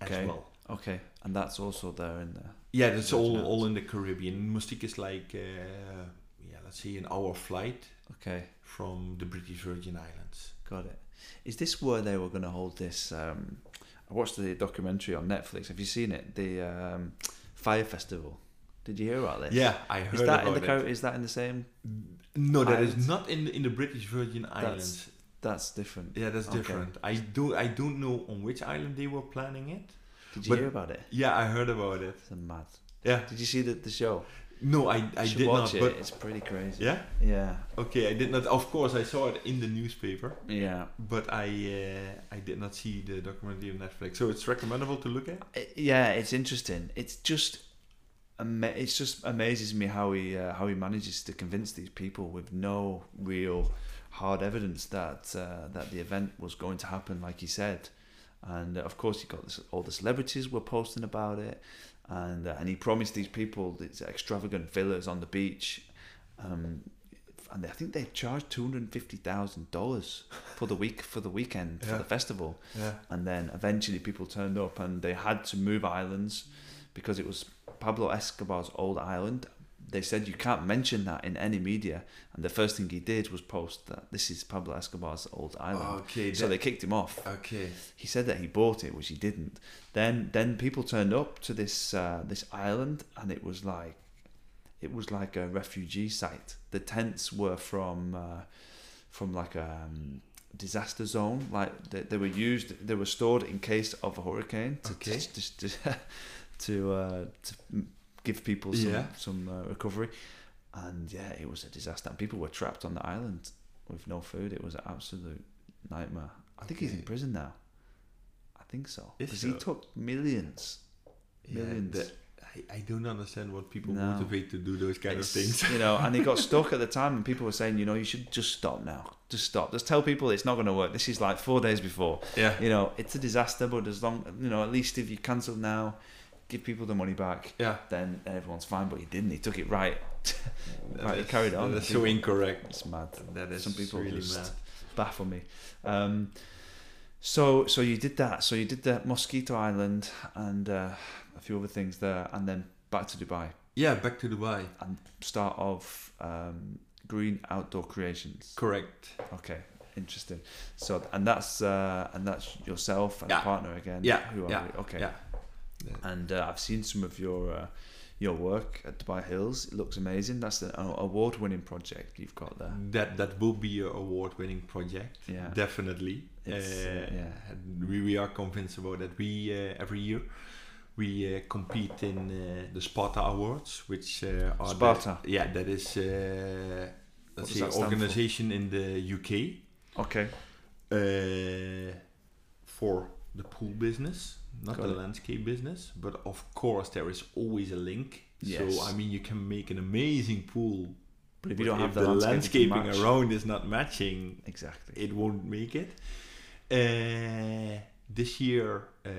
Speaker 1: Okay.
Speaker 2: as well.
Speaker 1: Okay, and that's also there in there.
Speaker 2: Yeah, that's all
Speaker 1: Those
Speaker 2: all in the Caribbean. Mustique is like uh, yeah, let's say an hour flight
Speaker 1: Okay,
Speaker 2: from the British Virgin Islands.
Speaker 1: got it. Is this where they were going to hold this? Um, I watched the documentary on Netflix. Have you seen it? The um, Fire Festival. Did you hear about this?
Speaker 2: Yeah, I heard
Speaker 1: Is that in
Speaker 2: about
Speaker 1: the
Speaker 2: it.
Speaker 1: Car- is that in the same?
Speaker 2: No, that is
Speaker 1: Islands?
Speaker 2: not in in the British Virgin Islands.
Speaker 1: That's different.
Speaker 2: yeah, that's
Speaker 1: okay.
Speaker 2: different. I do I don't know on which island they were planning it.
Speaker 1: Did you
Speaker 2: But-
Speaker 1: hear about it?
Speaker 2: Yeah, I heard about it.
Speaker 1: It's mad.
Speaker 2: Yeah.
Speaker 1: Did you see the, the show?
Speaker 2: No, I I
Speaker 1: You should
Speaker 2: did
Speaker 1: watch
Speaker 2: not.
Speaker 1: it.
Speaker 2: But
Speaker 1: it's pretty crazy.
Speaker 2: yeah,
Speaker 1: Yeah.
Speaker 2: okay, I did not. Of course, I saw it in the newspaper,
Speaker 1: Yeah.
Speaker 2: but I uh, I did not see the documentary on Netflix. So it's recommendable to look at.
Speaker 1: I- Eh, yeah, it's interesting. It's just, ama- it's just amazes me how he uh, how he manages to convince these people with no real hard evidence that uh, that the event was going to happen, like he said. And uh, of course, he got this, all the celebrities were posting about it, and uh, and he promised these people these extravagant villas on the beach. Um, and I think they charged two hundred fifty thousand dollars for the week for the weekend for
Speaker 2: Yeah.
Speaker 1: the festival
Speaker 2: Yeah.
Speaker 1: and then eventually people turned up and they had to move islands because it was Pablo Escobar's old island. They said you can't mention that in any media, and the first thing he did was post that this is Pablo Escobar's old island.
Speaker 2: Okay.
Speaker 1: so
Speaker 2: that-
Speaker 1: they kicked him off.
Speaker 2: okay.
Speaker 1: He said that he bought it, which he didn't. Then then people turned up to this uh, this island, and it was like it was like a refugee site. The tents were from uh, from like a um, disaster zone. Like they, they were used, they were stored in case of a hurricane to
Speaker 2: Okay.
Speaker 1: to, to, to, uh, to m- give people some
Speaker 2: Yeah.
Speaker 1: some uh, recovery. And yeah, it was a disaster. And people were trapped on the island with no food. It was an absolute nightmare. I think he's in
Speaker 2: Okay.
Speaker 1: prison now. I think so.
Speaker 2: Is
Speaker 1: Because he
Speaker 2: so?
Speaker 1: took millions.
Speaker 2: Yeah,
Speaker 1: Millions.
Speaker 2: that- I, I don't understand what people
Speaker 1: No.
Speaker 2: motivate to do those kind
Speaker 1: It's-
Speaker 2: of things.
Speaker 1: you know, and he got stuck at the time, and people were saying, you know, you should just stop now. Just stop. Just tell people it's not going to work. This is like four days before.
Speaker 2: yeah.
Speaker 1: You know, it's a disaster, but as long, you know, at least if you cancel now, give people the money back,
Speaker 2: Yeah.
Speaker 1: then everyone's fine. But he didn't. He took it right. right, he
Speaker 2: That's-
Speaker 1: carried on.
Speaker 2: That's so incorrect.
Speaker 1: It's mad.
Speaker 2: That is
Speaker 1: Some people
Speaker 2: really
Speaker 1: just-
Speaker 2: mad.
Speaker 1: baffle me. Um, so so you did that. So you did the Mosquito Island and uh, a few other things there, and then back to Dubai
Speaker 2: Yeah, back to Dubai.
Speaker 1: and start of um, Green Outdoor Creations.
Speaker 2: Correct.
Speaker 1: Okay, interesting. So and that's uh, and that's yourself and a
Speaker 2: Yeah.
Speaker 1: partner again.
Speaker 2: Yeah,
Speaker 1: Who are
Speaker 2: yeah,
Speaker 1: you? Okay.
Speaker 2: yeah.
Speaker 1: And uh, I've seen some of your. Uh, your work at Dubai Hills it looks amazing. That's an uh, award-winning project you've got there.
Speaker 2: That that will be an award-winning project.
Speaker 1: Yeah,
Speaker 2: Definitely.
Speaker 1: It's, uh, yeah.
Speaker 2: and We, we are convinced about that. We uh, every year we uh, compete in uh, the Sparta Awards, which uh, are the-
Speaker 1: Sparta.
Speaker 2: yeah, that is uh,
Speaker 1: does
Speaker 2: let's say
Speaker 1: that stand for?
Speaker 2: organization in the UK
Speaker 1: Okay.
Speaker 2: uh, for the pool business, not
Speaker 1: Got
Speaker 2: the
Speaker 1: it.
Speaker 2: landscape business. But of course, there is always a link.
Speaker 1: Yes.
Speaker 2: So I mean, you can make an amazing pool,
Speaker 1: But if you don't have the,
Speaker 2: the
Speaker 1: landscaping,
Speaker 2: landscaping
Speaker 1: match-
Speaker 2: around is not matching,
Speaker 1: exactly.
Speaker 2: it won't make it. Uh, this year uh,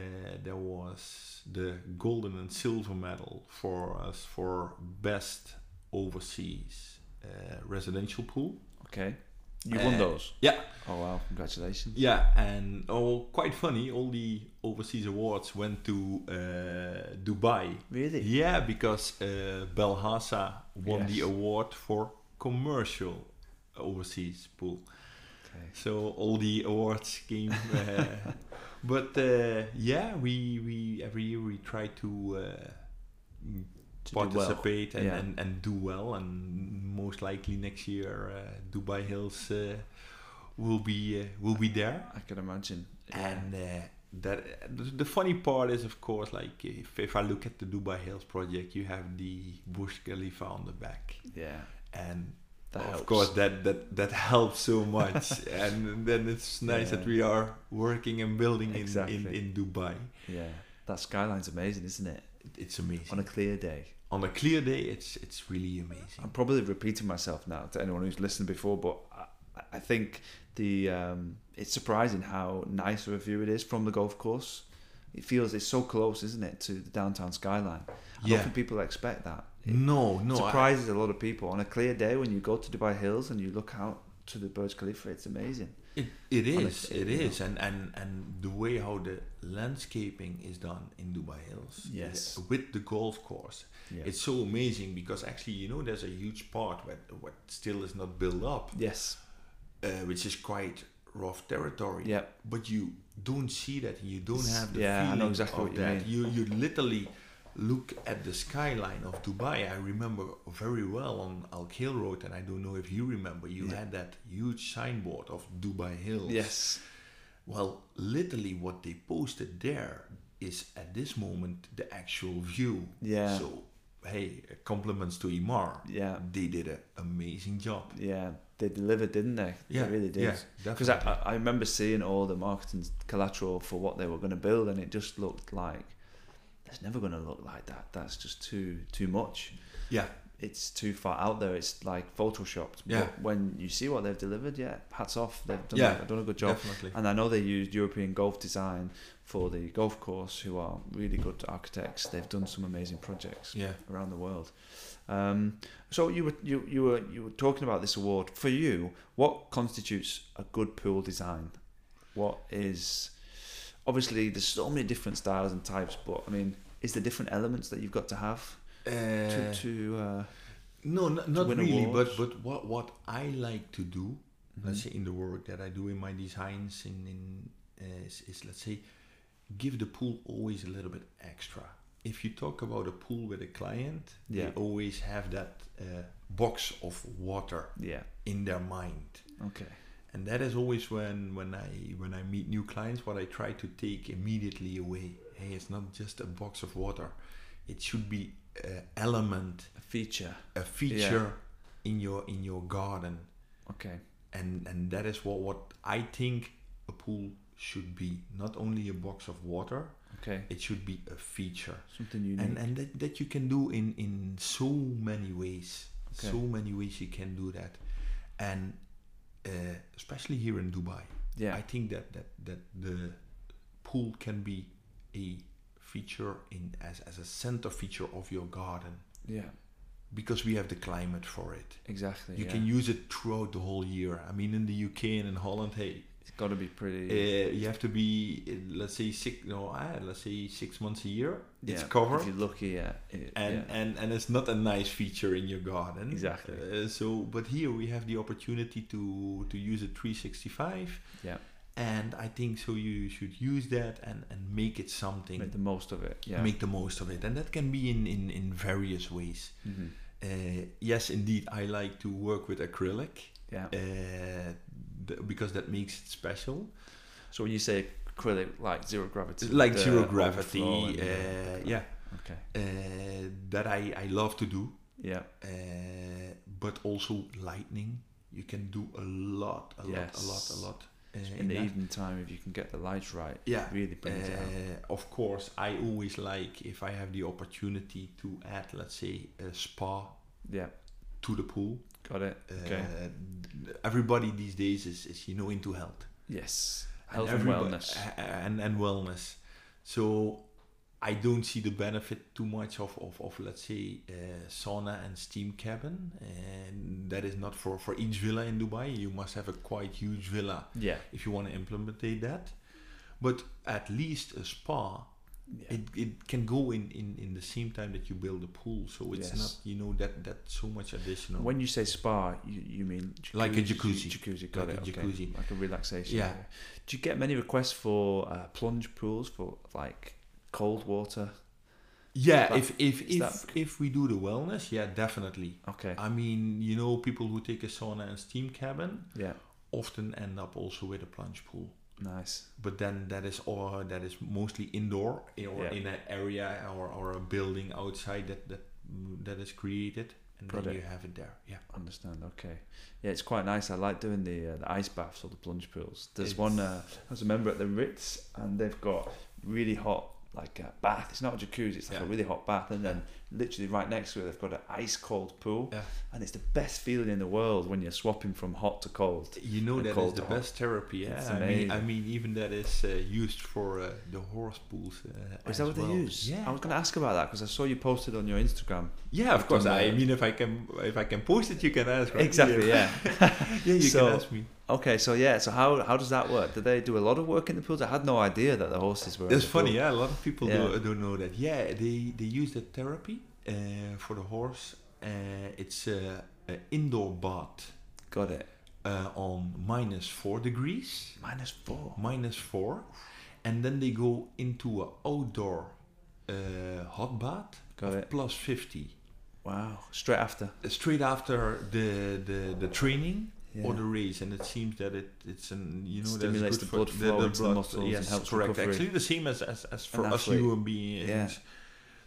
Speaker 2: there was the golden and silver medal for us for best overseas uh, residential pool.
Speaker 1: Okay. You won
Speaker 2: Uh,
Speaker 1: those?
Speaker 2: yeah.
Speaker 1: Oh wow, congratulations.
Speaker 2: Yeah, and oh, quite funny. All the overseas awards went to uh, Dubai.
Speaker 1: Really?
Speaker 2: Yeah, because uh, Belhassa won the
Speaker 1: Yes.
Speaker 2: award for commercial overseas pool.
Speaker 1: Okay.
Speaker 2: So all the awards came. Uh, but uh, yeah, we we every year we try to. Uh, m-
Speaker 1: To do well.
Speaker 2: participate and,
Speaker 1: Yeah.
Speaker 2: and, and do well and most likely next year uh, Dubai Hills uh, will be uh, will be there
Speaker 1: I can imagine.
Speaker 2: and uh, that the the funny part is, of course, like if, if I look at the Dubai Hills project, you have the Bush Khalifa on the back,
Speaker 1: yeah,
Speaker 2: and
Speaker 1: that
Speaker 2: of
Speaker 1: helps.
Speaker 2: course that that that helps so much. and then it's nice that
Speaker 1: Yeah.
Speaker 2: we are working and building in,
Speaker 1: Exactly.
Speaker 2: in in Dubai.
Speaker 1: Yeah, that skyline's amazing, isn't it?
Speaker 2: it's amazing.
Speaker 1: on a clear day.
Speaker 2: On a clear day, it's it's really amazing.
Speaker 1: I'm probably repeating myself now to anyone who's listened before, but I, I think the um, it's surprising how nice of a view it is from the golf course. It feels it's so close, isn't it, to the downtown skyline? I don't
Speaker 2: Yeah.
Speaker 1: think people expect that. It
Speaker 2: No, no, I-
Speaker 1: surprises a lot of people. On a clear day, when you go to Dubai Hills and you look out to the Burj Khalifa, it's amazing.
Speaker 2: It, it
Speaker 1: On a
Speaker 2: is,
Speaker 1: scale.
Speaker 2: it is, and, and and the way how the landscaping is done in Dubai Hills, is
Speaker 1: Yes.
Speaker 2: with the golf course,
Speaker 1: Yeah.
Speaker 2: it's so amazing because actually you know there's a huge part where what still is not built up,
Speaker 1: yes,
Speaker 2: uh, which is quite rough territory.
Speaker 1: yeah,
Speaker 2: But you don't see that, you don't
Speaker 1: S-
Speaker 2: have the
Speaker 1: yeah, I know
Speaker 2: feeling
Speaker 1: exactly
Speaker 2: of
Speaker 1: what you
Speaker 2: that. You you literally look at the skyline of Dubai. I remember very well on Al Khail Road, and I don't know if you remember. You
Speaker 1: Yeah.
Speaker 2: had that huge signboard of Dubai Hills.
Speaker 1: yes,
Speaker 2: Well, literally, what they posted there is at this moment the actual view.
Speaker 1: Yeah.
Speaker 2: So, hey, compliments to Imar.
Speaker 1: yeah,
Speaker 2: They did an amazing job.
Speaker 1: yeah. They delivered, didn't they?
Speaker 2: Yeah,
Speaker 1: they really did.
Speaker 2: yeah,
Speaker 1: Because I,
Speaker 2: definitely.
Speaker 1: I- I remember seeing all the marketing collateral for what they were going to build, and it just looked like it's never going to look like that. That's just too too much.
Speaker 2: yeah,
Speaker 1: It's too far out there. It's like photoshopped.
Speaker 2: Yeah.
Speaker 1: But when you see what they've delivered, yeah, hats off. They've done,
Speaker 2: Yeah,
Speaker 1: they've done a good job.
Speaker 2: definitely.
Speaker 1: And I know they used European Golf Design for the golf course, who are really good architects. They've done some amazing projects
Speaker 2: Yeah.
Speaker 1: around the world. Um, so you were you, you were you were talking about this award for you. What constitutes a good pool design? What is obviously there's so many different styles and types, but I mean, is there different elements that you've got to have to
Speaker 2: Uh,
Speaker 1: to? Uh,
Speaker 2: no, n- not
Speaker 1: win
Speaker 2: really.
Speaker 1: awards.
Speaker 2: But but what what I like to do, Mm-hmm. let's
Speaker 1: Mm-hmm.
Speaker 2: say in the work that I do in my designs, in in uh, is, is let's say, give the pool always a little bit extra. If you talk about a pool with a client,
Speaker 1: Yeah.
Speaker 2: they always have that uh, box of water.
Speaker 1: yeah.
Speaker 2: in their mind
Speaker 1: Okay.
Speaker 2: and that is always when when i when i meet new clients what i try to take immediately away hey it's not just a box of water it should be an element
Speaker 1: A feature.
Speaker 2: a feature in your in your garden
Speaker 1: Okay.
Speaker 2: and and that is what what i think a pool should be not only a box of water
Speaker 1: Okay.
Speaker 2: it should be a feature
Speaker 1: Something unique.
Speaker 2: and and that, that you can do in in so many ways
Speaker 1: Okay.
Speaker 2: so many ways you can do that and uh, especially here in dubai
Speaker 1: yeah.
Speaker 2: i think that that that the pool can be a feature in as, as a center feature of your garden
Speaker 1: yeah.
Speaker 2: because we have the climate for it
Speaker 1: Exactly.
Speaker 2: you
Speaker 1: yeah.
Speaker 2: can use it throughout the whole year i mean in the uk and in holland hey
Speaker 1: It's got to be
Speaker 2: uh,
Speaker 1: pretty.
Speaker 2: you have to be uh, let's say six no uh, let's say six months a year it's
Speaker 1: yeah,
Speaker 2: covered
Speaker 1: If you're lucky, yeah. It,
Speaker 2: and
Speaker 1: yeah.
Speaker 2: and and it's not a nice feature in your garden
Speaker 1: Exactly.
Speaker 2: uh, so but here we have the opportunity to to use a 365
Speaker 1: Yeah.
Speaker 2: and i think so you should use that and and make it something
Speaker 1: make the most of it. Yeah.
Speaker 2: make the most of it and that can be in in in various ways
Speaker 1: Mhm.
Speaker 2: uh, yes indeed i like to work with acrylic
Speaker 1: Yeah.
Speaker 2: uh, th- because that makes it special
Speaker 1: So when you say acrylic, like zero gravity,
Speaker 2: like
Speaker 1: the
Speaker 2: zero
Speaker 1: overflow
Speaker 2: gravity
Speaker 1: and the-
Speaker 2: uh, yeah
Speaker 1: Okay.
Speaker 2: uh, that i i love to do
Speaker 1: Yeah.
Speaker 2: uh, but also lightning. You can do a lot, a lot,
Speaker 1: Yes.
Speaker 2: a lot, a lot. Uh,
Speaker 1: In the
Speaker 2: that.
Speaker 1: evening time, if you can get the lights right,
Speaker 2: Yeah.
Speaker 1: really brings it out.
Speaker 2: Uh, of course, I always like if I have the opportunity to add, let's say, a spa
Speaker 1: Yeah.
Speaker 2: to the pool.
Speaker 1: Got it.
Speaker 2: Uh,
Speaker 1: Okay.
Speaker 2: Everybody these days is, is you know into health,
Speaker 1: yes. Health and,
Speaker 2: everybo-
Speaker 1: wellness.
Speaker 2: a- a- and and wellness. So I don't see the benefit too much of of, of let's say uh, sauna and steam cabin, and that is not for for each villa in Dubai. You must have a quite huge villa
Speaker 1: Yeah.
Speaker 2: if you want to implement that. But at least a spa,
Speaker 1: Yeah.
Speaker 2: it, it can go in, in in the same time that you build a pool. So it's
Speaker 1: Yes.
Speaker 2: not you know that that so much additional.
Speaker 1: when you say spa, you, you mean
Speaker 2: Like a jacuzzi.
Speaker 1: Jacuzzi, got
Speaker 2: Like
Speaker 1: it.
Speaker 2: a
Speaker 1: okay.
Speaker 2: jacuzzi.
Speaker 1: Like a relaxation.
Speaker 2: Yeah.
Speaker 1: area. Do you get many requests for uh, plunge pools for like cold water?
Speaker 2: yeah,
Speaker 1: But
Speaker 2: if if
Speaker 1: is
Speaker 2: if,
Speaker 1: that-
Speaker 2: if we do the wellness, yeah, definitely.
Speaker 1: Okay.
Speaker 2: I mean, you know, people who take a sauna and steam cabin
Speaker 1: yeah.
Speaker 2: often end up also with a plunge pool.
Speaker 1: Nice.
Speaker 2: But then that is all that is mostly indoor or
Speaker 1: Yeah.
Speaker 2: in an area or, or a building outside that that that is created, and
Speaker 1: Got
Speaker 2: then
Speaker 1: it.
Speaker 2: you have it there. Yeah.
Speaker 1: Understand. Okay. Yeah, it's quite nice. I like doing the uh, the ice baths or the plunge pools. There's
Speaker 2: It's-
Speaker 1: one. Uh, I was a member at the Ritz, and they've got really hot like a bath. It's not a jacuzzi. It's like a
Speaker 2: Yeah.
Speaker 1: really hot bath, and then literally right next to it, they've got an ice cold pool,
Speaker 2: Yeah.
Speaker 1: and it's the best feeling in the world when you're swapping from hot to cold.
Speaker 2: You know
Speaker 1: And
Speaker 2: that is
Speaker 1: cold
Speaker 2: the
Speaker 1: hot.
Speaker 2: best therapy. Yeah,
Speaker 1: It's
Speaker 2: I mean, I
Speaker 1: amazing.
Speaker 2: mean, even that is uh, used for uh, the horse pools. Uh,
Speaker 1: Is that
Speaker 2: as
Speaker 1: what
Speaker 2: well.
Speaker 1: they use?
Speaker 2: Yeah,
Speaker 1: I was going to ask about that because I saw you posted on your Instagram.
Speaker 2: yeah. Of course.
Speaker 1: Done
Speaker 2: I
Speaker 1: that.
Speaker 2: mean, if I can, if I can post it, you can ask. Right?
Speaker 1: Exactly.
Speaker 2: Yeah,
Speaker 1: Yeah.
Speaker 2: yeah you
Speaker 1: So-
Speaker 2: can ask me.
Speaker 1: Okay. So yeah. So how how does that work? Do they do a lot of work in the pools? I had no idea that the horses were. in
Speaker 2: That's
Speaker 1: the pool.
Speaker 2: funny. Yeah, a lot of people
Speaker 1: Yeah.
Speaker 2: do, don't know that. Yeah, they they use that therapy uh, for the horse. Uh, it's uh, an indoor bath
Speaker 1: Got it.
Speaker 2: uh, on minus four degrees.
Speaker 1: Minus four.
Speaker 2: minus four, and then they go into an outdoor uh, hot bath
Speaker 1: Got it.
Speaker 2: plus fifty.
Speaker 1: Wow. Straight after.
Speaker 2: Uh, Straight after the the, the training
Speaker 1: Yeah. Oh
Speaker 2: or the race, and it seems that it it's an you know
Speaker 1: Stimulates
Speaker 2: that's good
Speaker 1: the
Speaker 2: for
Speaker 1: blood flow into the muscles and
Speaker 2: yes,
Speaker 1: helps
Speaker 2: correct.
Speaker 1: recovery.
Speaker 2: Actually, the same as as, as for
Speaker 1: An
Speaker 2: us
Speaker 1: athlete.
Speaker 2: human beings.
Speaker 1: Yeah.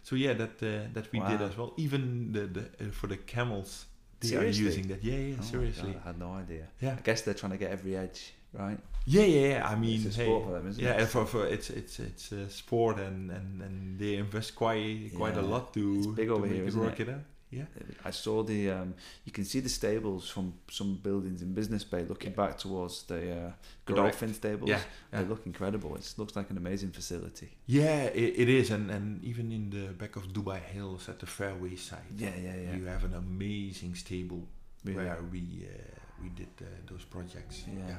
Speaker 2: So yeah, that uh, that we did
Speaker 1: Wow.
Speaker 2: as well. Even the, the uh, for the camels, they
Speaker 1: Seriously?
Speaker 2: are using that. Yeah, yeah,
Speaker 1: Oh my
Speaker 2: seriously.
Speaker 1: God, I had no idea.
Speaker 2: Yeah.
Speaker 1: I guess they're trying to get every edge, right?
Speaker 2: Yeah, yeah, yeah. I mean,
Speaker 1: it's a
Speaker 2: hey,
Speaker 1: sport for them, isn't
Speaker 2: yeah,
Speaker 1: it?
Speaker 2: and for, for it's it's it's a sport, and and and they invest quite quite a
Speaker 1: Yeah.
Speaker 2: lot to
Speaker 1: It's big over
Speaker 2: to
Speaker 1: here,
Speaker 2: make it
Speaker 1: isn't
Speaker 2: work
Speaker 1: it?
Speaker 2: it out. Yeah,
Speaker 1: I saw the um, you can see the stables from some buildings in Business Bay looking back towards the uh, Godolphin stables.
Speaker 2: Yeah,
Speaker 1: They
Speaker 2: yeah.
Speaker 1: look incredible. It looks like an amazing facility.
Speaker 2: yeah, it, it is, and and even in the back of Dubai Hills at the fairway side,
Speaker 1: Yeah, yeah, yeah.
Speaker 2: you have an amazing stable
Speaker 1: Really.
Speaker 2: where we uh, we did uh, those projects.
Speaker 1: Yeah.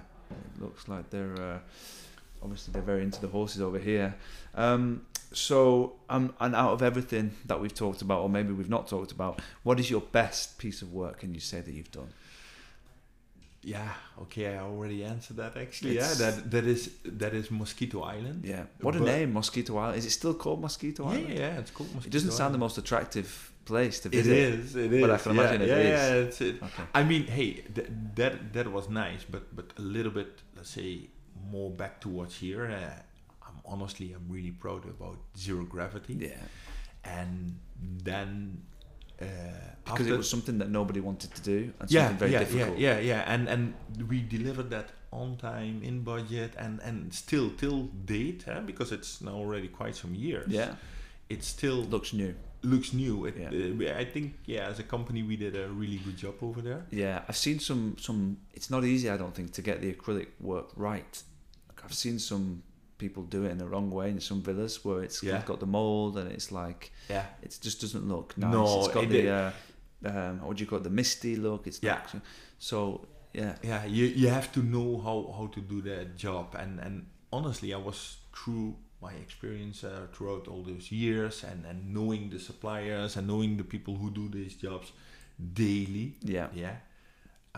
Speaker 1: It looks like they're uh, obviously they're very into the horses over here. Um, so, um, and out of everything that we've talked about, or maybe we've not talked about, what is your best piece of work? Can you say that you've done?
Speaker 2: yeah. Okay, I already answered that actually.
Speaker 1: It's-
Speaker 2: yeah, that that is that is Mosquito Island.
Speaker 1: Yeah. What a
Speaker 2: But-
Speaker 1: name, Mosquito Island. Is it still called Mosquito
Speaker 2: yeah,
Speaker 1: Island?
Speaker 2: yeah, it's called Mosquito
Speaker 1: It doesn't sound the
Speaker 2: Island.
Speaker 1: most attractive place to
Speaker 2: It
Speaker 1: visit.
Speaker 2: is. It is.
Speaker 1: But I can
Speaker 2: yeah,
Speaker 1: imagine it
Speaker 2: yeah,
Speaker 1: is.
Speaker 2: Yeah, it's, it,
Speaker 1: Okay.
Speaker 2: I mean, hey, th- that that was nice, but but a little bit, let's say, more back towards here. Uh, I'm honestly, I'm really proud about zero gravity,
Speaker 1: Yeah.
Speaker 2: and then uh,
Speaker 1: Because
Speaker 2: after-
Speaker 1: it was something that nobody wanted to do and something
Speaker 2: yeah,
Speaker 1: very
Speaker 2: yeah,
Speaker 1: difficult.
Speaker 2: yeah, yeah, yeah, and and we delivered that on time, in budget, and and still till date, eh, because it's now already quite some years.
Speaker 1: Yeah.
Speaker 2: it's still
Speaker 1: Looks new.
Speaker 2: looks new. It,
Speaker 1: Yeah.
Speaker 2: uh, we- I think yeah, as a company, we did a really good job over there.
Speaker 1: Yeah. I've seen some some it's not easy I don't think to get the acrylic work right. Like, I've seen some people do it in the wrong way in some villas where it's
Speaker 2: Yeah.
Speaker 1: got the mold and it's like
Speaker 2: Yeah.
Speaker 1: it just doesn't look nice.
Speaker 2: No,
Speaker 1: it's got
Speaker 2: it
Speaker 1: the
Speaker 2: did-
Speaker 1: uh, um, what do you call it, the misty look. It's
Speaker 2: Yeah.
Speaker 1: not, so yeah.
Speaker 2: yeah you, you have to know how how to do that job and and honestly i was through my experience uh, throughout all those years and and knowing the suppliers and knowing the people who do these jobs daily
Speaker 1: Yeah.
Speaker 2: yeah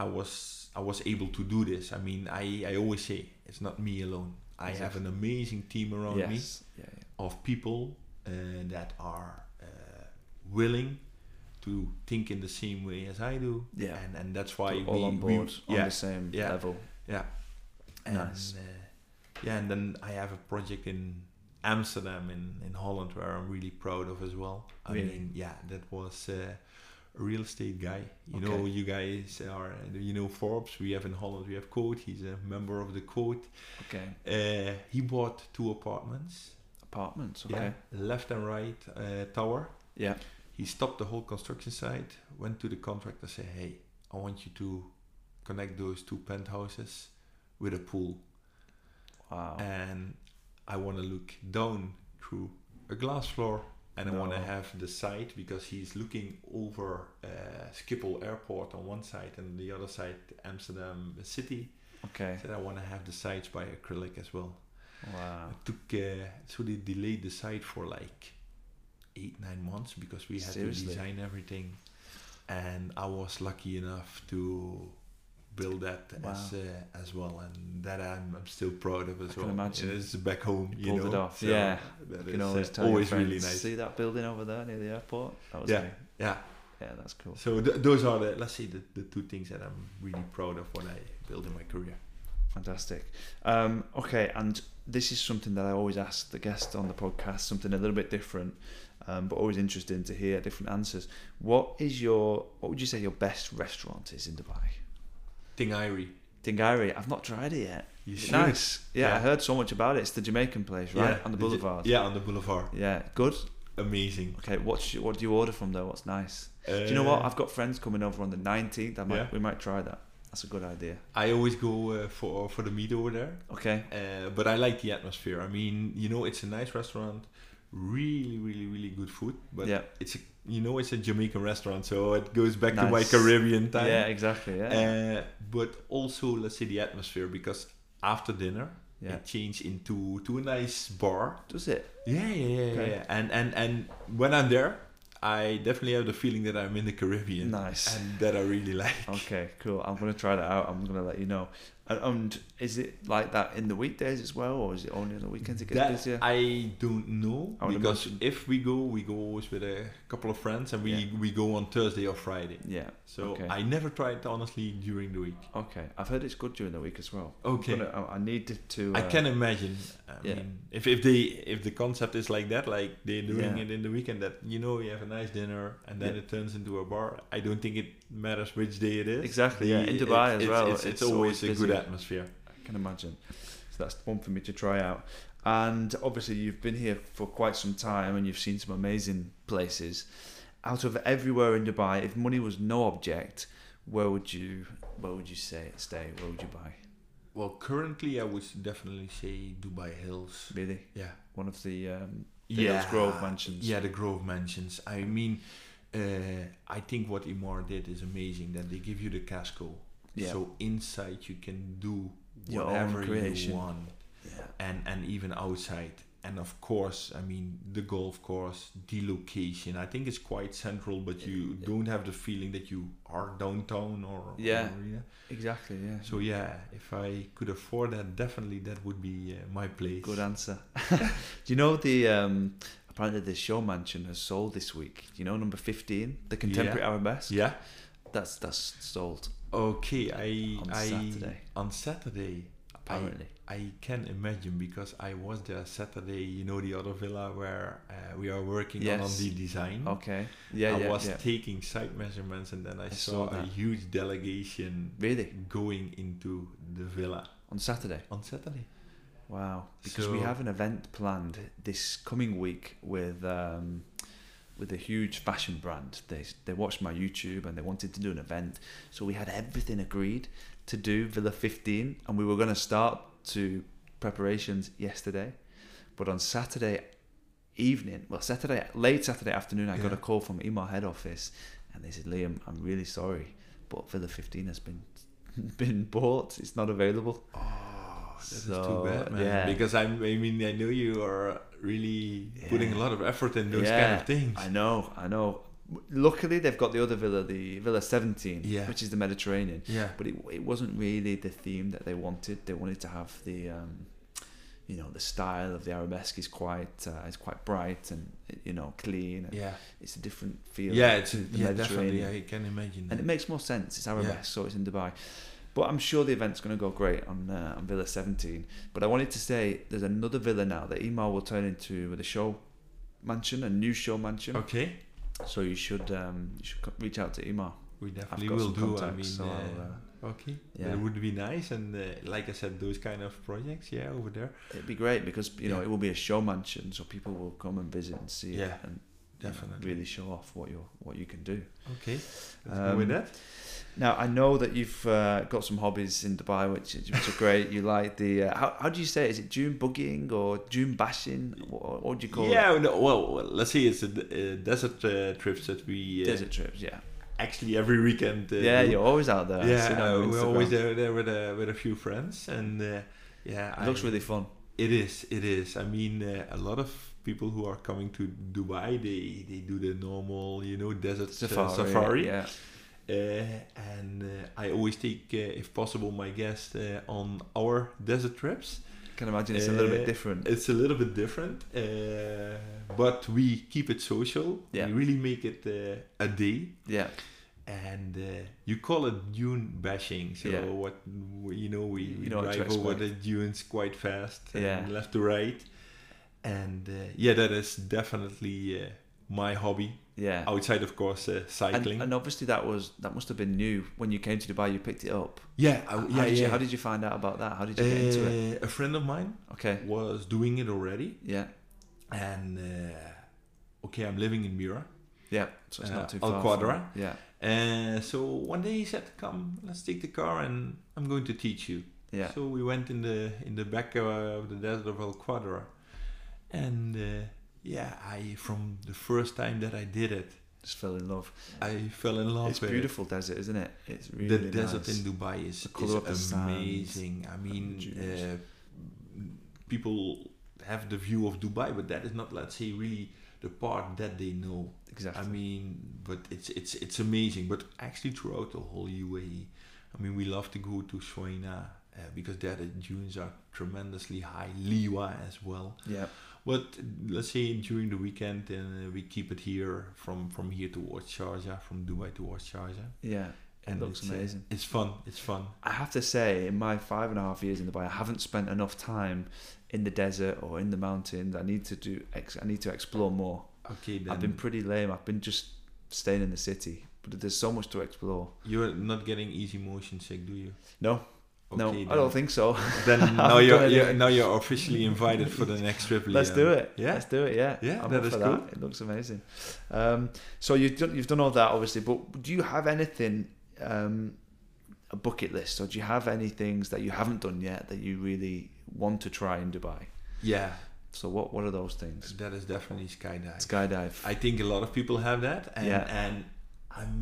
Speaker 2: i was i was able to do this i mean i i always say it's not me alone i have an amazing team around me
Speaker 1: Yes. Yeah, yeah.
Speaker 2: of people uh, that are uh, willing to think in the same way as I do,
Speaker 1: Yeah.
Speaker 2: and and that's why
Speaker 1: all
Speaker 2: we,
Speaker 1: on
Speaker 2: we-
Speaker 1: board on
Speaker 2: yeah,
Speaker 1: the same
Speaker 2: yeah.
Speaker 1: level.
Speaker 2: yeah. And,
Speaker 1: Nice.
Speaker 2: Uh, yeah, and then I have a project in Amsterdam in, in Holland where I'm really proud of as well. I
Speaker 1: Really?
Speaker 2: mean, yeah, that was uh, a real estate guy. You
Speaker 1: Okay.
Speaker 2: know, you guys are, you know, Forbes, we have in Holland, we have Coat. He's a member of the Coat.
Speaker 1: Okay.
Speaker 2: Uh, he bought two apartments.
Speaker 1: Apartments. Okay.
Speaker 2: Yeah, left and right uh, tower.
Speaker 1: Yeah.
Speaker 2: He stopped the whole construction site, went to the contractor, said, "Hey, I want you to connect those two penthouses with a pool,
Speaker 1: Wow.
Speaker 2: and I want to look down through a glass floor, and I want to
Speaker 1: No.
Speaker 2: have the site because he's looking over uh, Schiphol Airport on one side and the other side Amsterdam city.
Speaker 1: okay.
Speaker 2: I said I want to have the sites by acrylic as well.
Speaker 1: Wow.
Speaker 2: It took uh, so they delayed the site for like eight nine months because we had
Speaker 1: Seriously?
Speaker 2: to design everything, and I was lucky enough to build that as
Speaker 1: Wow.
Speaker 2: uh, as well, and that I'm, I'm still proud of as
Speaker 1: can
Speaker 2: well.
Speaker 1: imagine.
Speaker 2: it's back home,
Speaker 1: You
Speaker 2: you,
Speaker 1: pulled
Speaker 2: know.
Speaker 1: it off,
Speaker 2: so
Speaker 1: yeah.
Speaker 2: that
Speaker 1: You can
Speaker 2: is,
Speaker 1: always
Speaker 2: uh,
Speaker 1: tell
Speaker 2: always
Speaker 1: your friends,
Speaker 2: really nice.
Speaker 1: See that building over there near the airport? That was me.
Speaker 2: Yeah,
Speaker 1: Yeah, that's cool.
Speaker 2: so th- those are the let's say the, the two things that I'm really proud of what I built in my career.
Speaker 1: Fantastic. Um, okay, and this is something that I always ask the guest on the podcast, something a little bit different, um, but always interesting to hear different answers. What is your what would you say your best restaurant is in Dubai?
Speaker 2: Thing Irie,
Speaker 1: Tingari. I've not tried it yet.
Speaker 2: You
Speaker 1: It's
Speaker 2: should.
Speaker 1: nice. Yeah, I
Speaker 2: Yeah.
Speaker 1: heard so much about it. It's the Jamaican place, right? On the
Speaker 2: Did you-
Speaker 1: boulevard.
Speaker 2: Yeah, on the boulevard.
Speaker 1: Yeah, good.
Speaker 2: Amazing.
Speaker 1: Okay, what's your, what do you order from there? What's nice? Do you know what?
Speaker 2: Uh,
Speaker 1: I've got friends coming over on the 19th. I might,
Speaker 2: Yeah.
Speaker 1: We might try that. That's a good idea.
Speaker 2: I always go uh, for for the meat over there,
Speaker 1: Okay.
Speaker 2: uh, but I like the atmosphere. I mean, you know, it's a nice restaurant, really, really, really good food. But
Speaker 1: yeah.
Speaker 2: it's a, you know, it's a Jamaican restaurant, so it goes back to my
Speaker 1: Nice.
Speaker 2: Caribbean time.
Speaker 1: Yeah, exactly. Yeah.
Speaker 2: Uh, but also, let's say the atmosphere because after dinner,
Speaker 1: yeah.
Speaker 2: it changed into to a nice bar.
Speaker 1: Does it?
Speaker 2: Yeah, yeah, yeah,
Speaker 1: Okay.
Speaker 2: yeah. And and and when I'm there, I definitely have the feeling that I'm in the Caribbean.
Speaker 1: Nice.
Speaker 2: And that I really like.
Speaker 1: Okay, cool. I'm gonna try that out. I'm gonna let you know. And, and is it like that in the weekdays as well, or is it only on the weekends it gets
Speaker 2: That
Speaker 1: busier?
Speaker 2: I don't know
Speaker 1: I would
Speaker 2: because
Speaker 1: imagine.
Speaker 2: if we go, we go always with a couple of friends, and we
Speaker 1: Yeah.
Speaker 2: we go on Thursday or Friday.
Speaker 1: yeah.
Speaker 2: So
Speaker 1: Okay.
Speaker 2: I never tried honestly during the week.
Speaker 1: Okay. I've heard it's good during the week as well.
Speaker 2: Okay.
Speaker 1: Gonna- I, I need to. to
Speaker 2: I
Speaker 1: uh,
Speaker 2: can imagine. I
Speaker 1: yeah.
Speaker 2: mean, if if they if the concept is like that, like they're doing
Speaker 1: Yeah.
Speaker 2: it in the weekend, that you know you have a nice dinner and then
Speaker 1: Yeah.
Speaker 2: it turns into a bar. I don't think it matters which day it is.
Speaker 1: Exactly, yeah.
Speaker 2: The-
Speaker 1: In
Speaker 2: it-
Speaker 1: Dubai as
Speaker 2: it's,
Speaker 1: well,
Speaker 2: it's,
Speaker 1: it's
Speaker 2: it's
Speaker 1: always
Speaker 2: always, a good
Speaker 1: busy.
Speaker 2: atmosphere.
Speaker 1: I can imagine. So that's one for me to try out. And obviously, you've been here for quite some time, and you've seen some amazing places. Out of everywhere in Dubai, if money was no object, where would you where would you say stay? Where would you buy?
Speaker 2: Well, currently I would definitely say Dubai Hills.
Speaker 1: Really,
Speaker 2: Yeah.
Speaker 1: one of the um, The Hills Grove mansions.
Speaker 2: Yeah, the Grove mansions. I mean, uh, I think what Imar did is amazing. That they give you the casco,
Speaker 1: Yeah.
Speaker 2: so inside you can do
Speaker 1: Your own
Speaker 2: whatever
Speaker 1: creation.
Speaker 2: you want,
Speaker 1: yeah.
Speaker 2: and and even outside. And of course, I mean the golf course, the location. I think it's quite central, but you
Speaker 1: Yeah.
Speaker 2: don't have the feeling that you are downtown or or
Speaker 1: Yeah.
Speaker 2: yeah.
Speaker 1: Exactly, yeah.
Speaker 2: So yeah, if I could afford that, definitely that would be uh, my place.
Speaker 1: Good answer. Do you know the um apparently the show mansion has sold this week. You know number fifteen, the contemporary
Speaker 2: Yeah.
Speaker 1: arabesque.
Speaker 2: Yeah.
Speaker 1: That's that's sold
Speaker 2: Okay, I
Speaker 1: On
Speaker 2: I
Speaker 1: Saturday.
Speaker 2: on Saturday
Speaker 1: apparently.
Speaker 2: I can imagine because I was there Saturday. You know the other villa where uh, we are working on, on
Speaker 1: Yes.
Speaker 2: the design.
Speaker 1: okay. Mm-hmm. Yeah,
Speaker 2: I
Speaker 1: yeah,
Speaker 2: was
Speaker 1: yeah.
Speaker 2: taking site measurements and then I,
Speaker 1: saw
Speaker 2: saw, a
Speaker 1: that.
Speaker 2: huge delegation
Speaker 1: Really
Speaker 2: going into the villa
Speaker 1: on Saturday.
Speaker 2: on Saturday.
Speaker 1: Wow. Because we
Speaker 2: So-
Speaker 1: have an event planned this coming week with um with a huge fashion brand. They they watched my YouTube and they wanted to do an event. So we had everything agreed to do Villa 15 and we were going to start to preparations yesterday. But on Saturday evening, well Saturday late Saturday afternoon I got
Speaker 2: Yeah.
Speaker 1: a call from Imar head office and they said Liam, I'm really sorry, but Villa 15 has been been bought. It's not available.
Speaker 2: Oh, that is
Speaker 1: So,
Speaker 2: too bad, man.
Speaker 1: yeah.
Speaker 2: Because I'm, I mean, I know you are really putting a
Speaker 1: Yeah.
Speaker 2: lot of effort in those kind
Speaker 1: Yeah,
Speaker 2: of things.
Speaker 1: I know, I know. Luckily, they've got the other villa, the Villa 17,
Speaker 2: Yeah.
Speaker 1: which is the Mediterranean.
Speaker 2: yeah.
Speaker 1: But it, it wasn't really the theme that they wanted. They wanted to have the, um, you know, the style of the arabesque is quite, uh, is quite bright and you know clean. And
Speaker 2: Yeah.
Speaker 1: It's a different feel.
Speaker 2: Yeah, it's
Speaker 1: to the
Speaker 2: yeah,
Speaker 1: Mediterranean.
Speaker 2: definitely. I can imagine.
Speaker 1: and
Speaker 2: that.
Speaker 1: it makes more sense. It's Arabesque,
Speaker 2: Yeah.
Speaker 1: so it's in Dubai. But I'm sure the event's going to go great on, uh, on Villa 17. But I wanted to say there's another villa now that Email will turn into with a show mansion, a new show mansion.
Speaker 2: Okay,
Speaker 1: So you should um, you should co- reach out to Email.
Speaker 2: we definitely
Speaker 1: got some
Speaker 2: will do. I
Speaker 1: contacts,
Speaker 2: mean,
Speaker 1: so I'll,
Speaker 2: uh, okay,
Speaker 1: yeah.
Speaker 2: that would be nice. And uh, like I said, those kind of projects, yeah, over there,
Speaker 1: It'd be great because you know
Speaker 2: Yeah.
Speaker 1: it will be a show mansion, so people will come and visit and see it
Speaker 2: Yeah,
Speaker 1: and you know,
Speaker 2: definitely.
Speaker 1: really show off what you what you can do.
Speaker 2: Okay, let's go with
Speaker 1: Um,
Speaker 2: that.
Speaker 1: Now I know that you've uh, got some hobbies in Dubai, which is, which are great. You like the uh, how, how do you say? It? Is it June bugging or June bashing? What, what do you call it?
Speaker 2: Yeah, no, well, well, let's say it's a, d- uh desert uh, trips that we uh,
Speaker 1: Desert trips, yeah.
Speaker 2: actually every weekend. Uh,
Speaker 1: yeah,
Speaker 2: do.
Speaker 1: you're always out there. I see
Speaker 2: yeah,
Speaker 1: that on
Speaker 2: uh,
Speaker 1: your
Speaker 2: we're always
Speaker 1: Instagram.
Speaker 2: there, there with a with a few friends, and uh, yeah,
Speaker 1: It looks
Speaker 2: I-
Speaker 1: really fun.
Speaker 2: It is. It is. I mean, uh, a lot of people who are coming to Dubai, they they do the normal, you know, desert uh,
Speaker 1: Safari,
Speaker 2: safari.
Speaker 1: yeah,
Speaker 2: Uh, and uh, I always take, uh, if possible, my guest uh, on our desert trips.
Speaker 1: can imagine it's a little bit
Speaker 2: Uh,
Speaker 1: different.
Speaker 2: It's a little bit different, uh, but we keep it social.
Speaker 1: Yeah.
Speaker 2: We really make it uh, a day.
Speaker 1: Yeah,
Speaker 2: And uh, you call it dune bashing, so
Speaker 1: Yeah.
Speaker 2: what you know, we,
Speaker 1: You
Speaker 2: we
Speaker 1: know what to
Speaker 2: drive over the dunes quite fast,
Speaker 1: Yeah.
Speaker 2: and left to right, and uh, yeah, that is definitely uh, my hobby.
Speaker 1: yeah.
Speaker 2: Outside, of course, uh,
Speaker 1: And,
Speaker 2: cycling.
Speaker 1: and obviously that was that must have been new when you came to Dubai. You picked it up.
Speaker 2: yeah, I,
Speaker 1: How
Speaker 2: Oh, yeah,
Speaker 1: did
Speaker 2: yeah.
Speaker 1: You, how did you find out about that? How did you get into it?
Speaker 2: Uh, A friend of mine
Speaker 1: Okay.
Speaker 2: was doing it already,
Speaker 1: Yeah.
Speaker 2: and uh, okay, I'm living in Mira.
Speaker 1: Yeah. So it's
Speaker 2: Uh,
Speaker 1: not too
Speaker 2: Al
Speaker 1: far. from-
Speaker 2: Quadra.
Speaker 1: Yeah.
Speaker 2: Uh, so one day he said, "Come, let's take the car, and I'm going to teach you."
Speaker 1: Yeah.
Speaker 2: So we went in the in the back uh, of the desert of El Quadra, and uh, yeah, I from the first time that I did it,
Speaker 1: Just fell in love.
Speaker 2: I fell in love.
Speaker 1: it's
Speaker 2: with it.
Speaker 1: beautiful desert, isn't it? It's really
Speaker 2: the desert
Speaker 1: nice.
Speaker 2: in Dubai is,
Speaker 1: The colour of the
Speaker 2: is
Speaker 1: sand,
Speaker 2: amazing. I mean,
Speaker 1: dunes.
Speaker 2: uh, people have the view of Dubai, but that is not, let's say, really the part that they know.
Speaker 1: exactly.
Speaker 2: I mean, but it's it's it's amazing. But actually, throughout the whole UAE, I mean, we love to go to Soina uh, because there the dunes are tremendously high, Liwa as well.
Speaker 1: yeah.
Speaker 2: But let's say during the weekend, uh, we keep it here from from here towards Sharjah, from Dubai towards Sharjah.
Speaker 1: Yeah. It looks
Speaker 2: it's, uh,
Speaker 1: amazing.
Speaker 2: it's fun. It's fun.
Speaker 1: I have to say, in my five and a half years in Dubai, I haven't spent enough time in the desert or in the mountains. I need to do. Ex- I need to explore more.
Speaker 2: Okay, then
Speaker 1: I've been pretty lame. I've been just staying in the city, but there's so much to explore.
Speaker 2: you're not getting easy motion sick, do you?
Speaker 1: No. no,
Speaker 2: Okay,
Speaker 1: I don't think so.
Speaker 2: Then
Speaker 1: I've
Speaker 2: now you're,
Speaker 1: done
Speaker 2: you're
Speaker 1: anything.
Speaker 2: now you're officially invited for the next trip.
Speaker 1: Let's do it.
Speaker 2: Yeah.
Speaker 1: Let's do it. Yeah.
Speaker 2: Yeah,
Speaker 1: I'm
Speaker 2: that
Speaker 1: up
Speaker 2: is
Speaker 1: for
Speaker 2: cool.
Speaker 1: that. It looks amazing. Um, so you've done, you've done all that, obviously, but do you have anything, um, a bucket list, or do you have any things that you haven't done yet that you really want to try in Dubai?
Speaker 2: Yeah,
Speaker 1: So what, what are those things?
Speaker 2: that is definitely skydive.
Speaker 1: Skydive.
Speaker 2: I think a lot of people have that, and
Speaker 1: Yeah.
Speaker 2: and I'm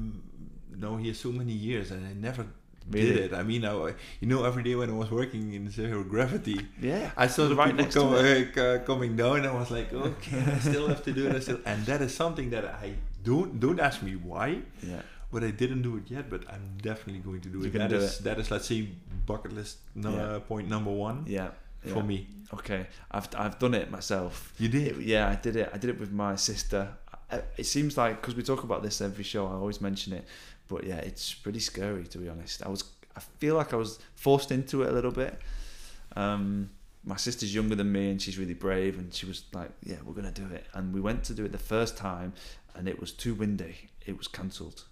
Speaker 2: now here so many years, and I never did
Speaker 1: Really?
Speaker 2: it. I mean, I, you know, every day when I was working in zero gravity,
Speaker 1: yeah.
Speaker 2: I saw the
Speaker 1: Right
Speaker 2: people
Speaker 1: next to
Speaker 2: come, uh, c- coming down, and I was like, okay, I still have to do it. I still, and that is something that I don't don't ask me why,
Speaker 1: Yeah.
Speaker 2: but I didn't do it yet. But I'm definitely going to do
Speaker 1: You're
Speaker 2: it.
Speaker 1: gonna
Speaker 2: That
Speaker 1: do
Speaker 2: is that is let's say bucket list nu-
Speaker 1: Yeah.
Speaker 2: point number one
Speaker 1: Yeah. yeah.
Speaker 2: for me.
Speaker 1: Okay. I've, I've done it myself.
Speaker 2: You did.
Speaker 1: It- yeah, I did it. I did it with my sister. I, it seems like because we talk about this every show, I always mention it. But yeah, it's pretty scary to be honest. I was, I feel like I was forced into it a little bit. Um, my sister's younger than me, and she's really brave, and she was like, "Yeah, we're gonna do it." And we went to do it the first time, and it was too windy. It was cancelled.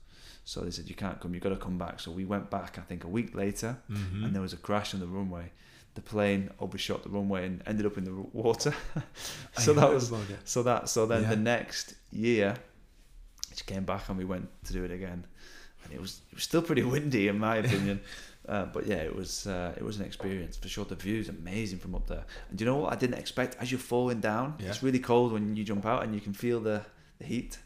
Speaker 1: So they said, "You can't come. You've got to come back." So we went back. I think a week later,
Speaker 2: Mhm.
Speaker 1: and there was a crash on the runway. The plane overshot the runway and ended up in the water.
Speaker 2: I
Speaker 1: so that
Speaker 2: heard
Speaker 1: was
Speaker 2: about that.
Speaker 1: so that so then
Speaker 2: Yeah.
Speaker 1: the next year, she came back and we went to do it again, and it was it was still pretty windy in my opinion, uh, but yeah, it was uh, it was an experience for sure. The view's amazing from up there, and do you know what I didn't expect? As you're falling down,
Speaker 2: Yeah.
Speaker 1: it's really cold when you jump out, and you can feel the, the heat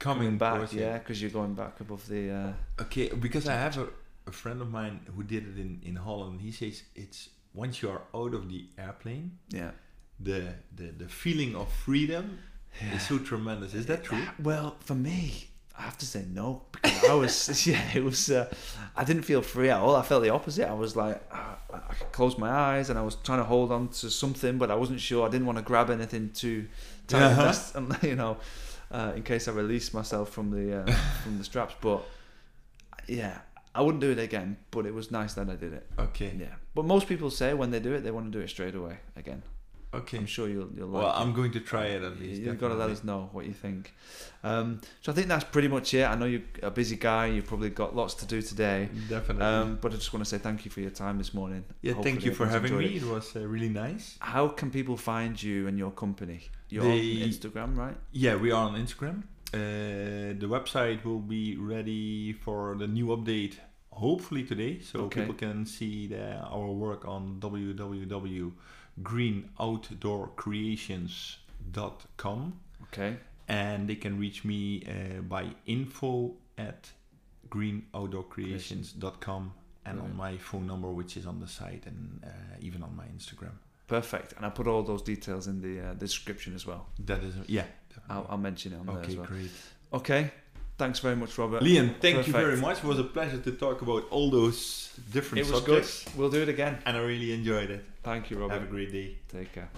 Speaker 2: coming
Speaker 1: back.
Speaker 2: towards you.
Speaker 1: Yeah, because you're going back above the. Uh,
Speaker 2: Okay, because I have a, a friend of mine who did it in, in Holland. He says it's once you are out of the airplane,
Speaker 1: yeah.
Speaker 2: the the, the feeling of freedom
Speaker 1: Yeah.
Speaker 2: is so tremendous. Is that true?
Speaker 1: Well, for me, I have to say no because I was yeah, it was. Uh, I didn't feel free at all. I felt the opposite. I was like, uh, I could close my eyes and I was trying to hold on to something, but I wasn't sure. I didn't want to grab anything too tight,
Speaker 2: Uh-huh.
Speaker 1: that's- and, you know, uh, in case I released myself from the uh, from the straps. But yeah, I wouldn't do it again. But it was nice that I did it.
Speaker 2: Okay,
Speaker 1: Yeah. But most people say when they do it, they want to do it straight away again.
Speaker 2: okay.
Speaker 1: I'm sure you'll you'll like.
Speaker 2: well,
Speaker 1: it.
Speaker 2: I'm going to try it at least.
Speaker 1: You've got to let
Speaker 2: definitely.
Speaker 1: us know what you think. Um, so I think that's pretty much it. I know you're a busy guy. You've probably got lots to do today.
Speaker 2: Definitely.
Speaker 1: Um, but I just want to say thank you for your time this morning.
Speaker 2: yeah, thank
Speaker 1: Hopefully
Speaker 2: you for
Speaker 1: everyone's
Speaker 2: having me.
Speaker 1: enjoyed
Speaker 2: It,
Speaker 1: it.
Speaker 2: was uh, really nice.
Speaker 1: How can people find you and your company? You're
Speaker 2: They-
Speaker 1: on Instagram, right?
Speaker 2: Yeah, we are on Instagram. Uh, the website will be ready for the new update hopefully today, so
Speaker 1: Okay.
Speaker 2: people can see the, our work on www.greenoutdoorcreations.com
Speaker 1: Okay.
Speaker 2: and they can reach me uh, by info at greenoutdoorcreations.com and on
Speaker 1: Brilliant.
Speaker 2: my phone number which is on the site and uh, even on my Instagram.
Speaker 1: Perfect. And I'll put all those details in the uh, description as well.
Speaker 2: That is yeah.
Speaker 1: I'll, I'll mention it on there
Speaker 2: okay,
Speaker 1: as well.
Speaker 2: great.
Speaker 1: Okay. Thanks very much, Robert.
Speaker 2: Liam, thank you
Speaker 1: Perfect.
Speaker 2: very much. It was a pleasure to talk about all those different
Speaker 1: It was good.
Speaker 2: subjects.
Speaker 1: We'll do it again.
Speaker 2: And I really enjoyed it.
Speaker 1: Thank you,
Speaker 2: Have a
Speaker 1: Robert.
Speaker 2: great day.
Speaker 1: Take care.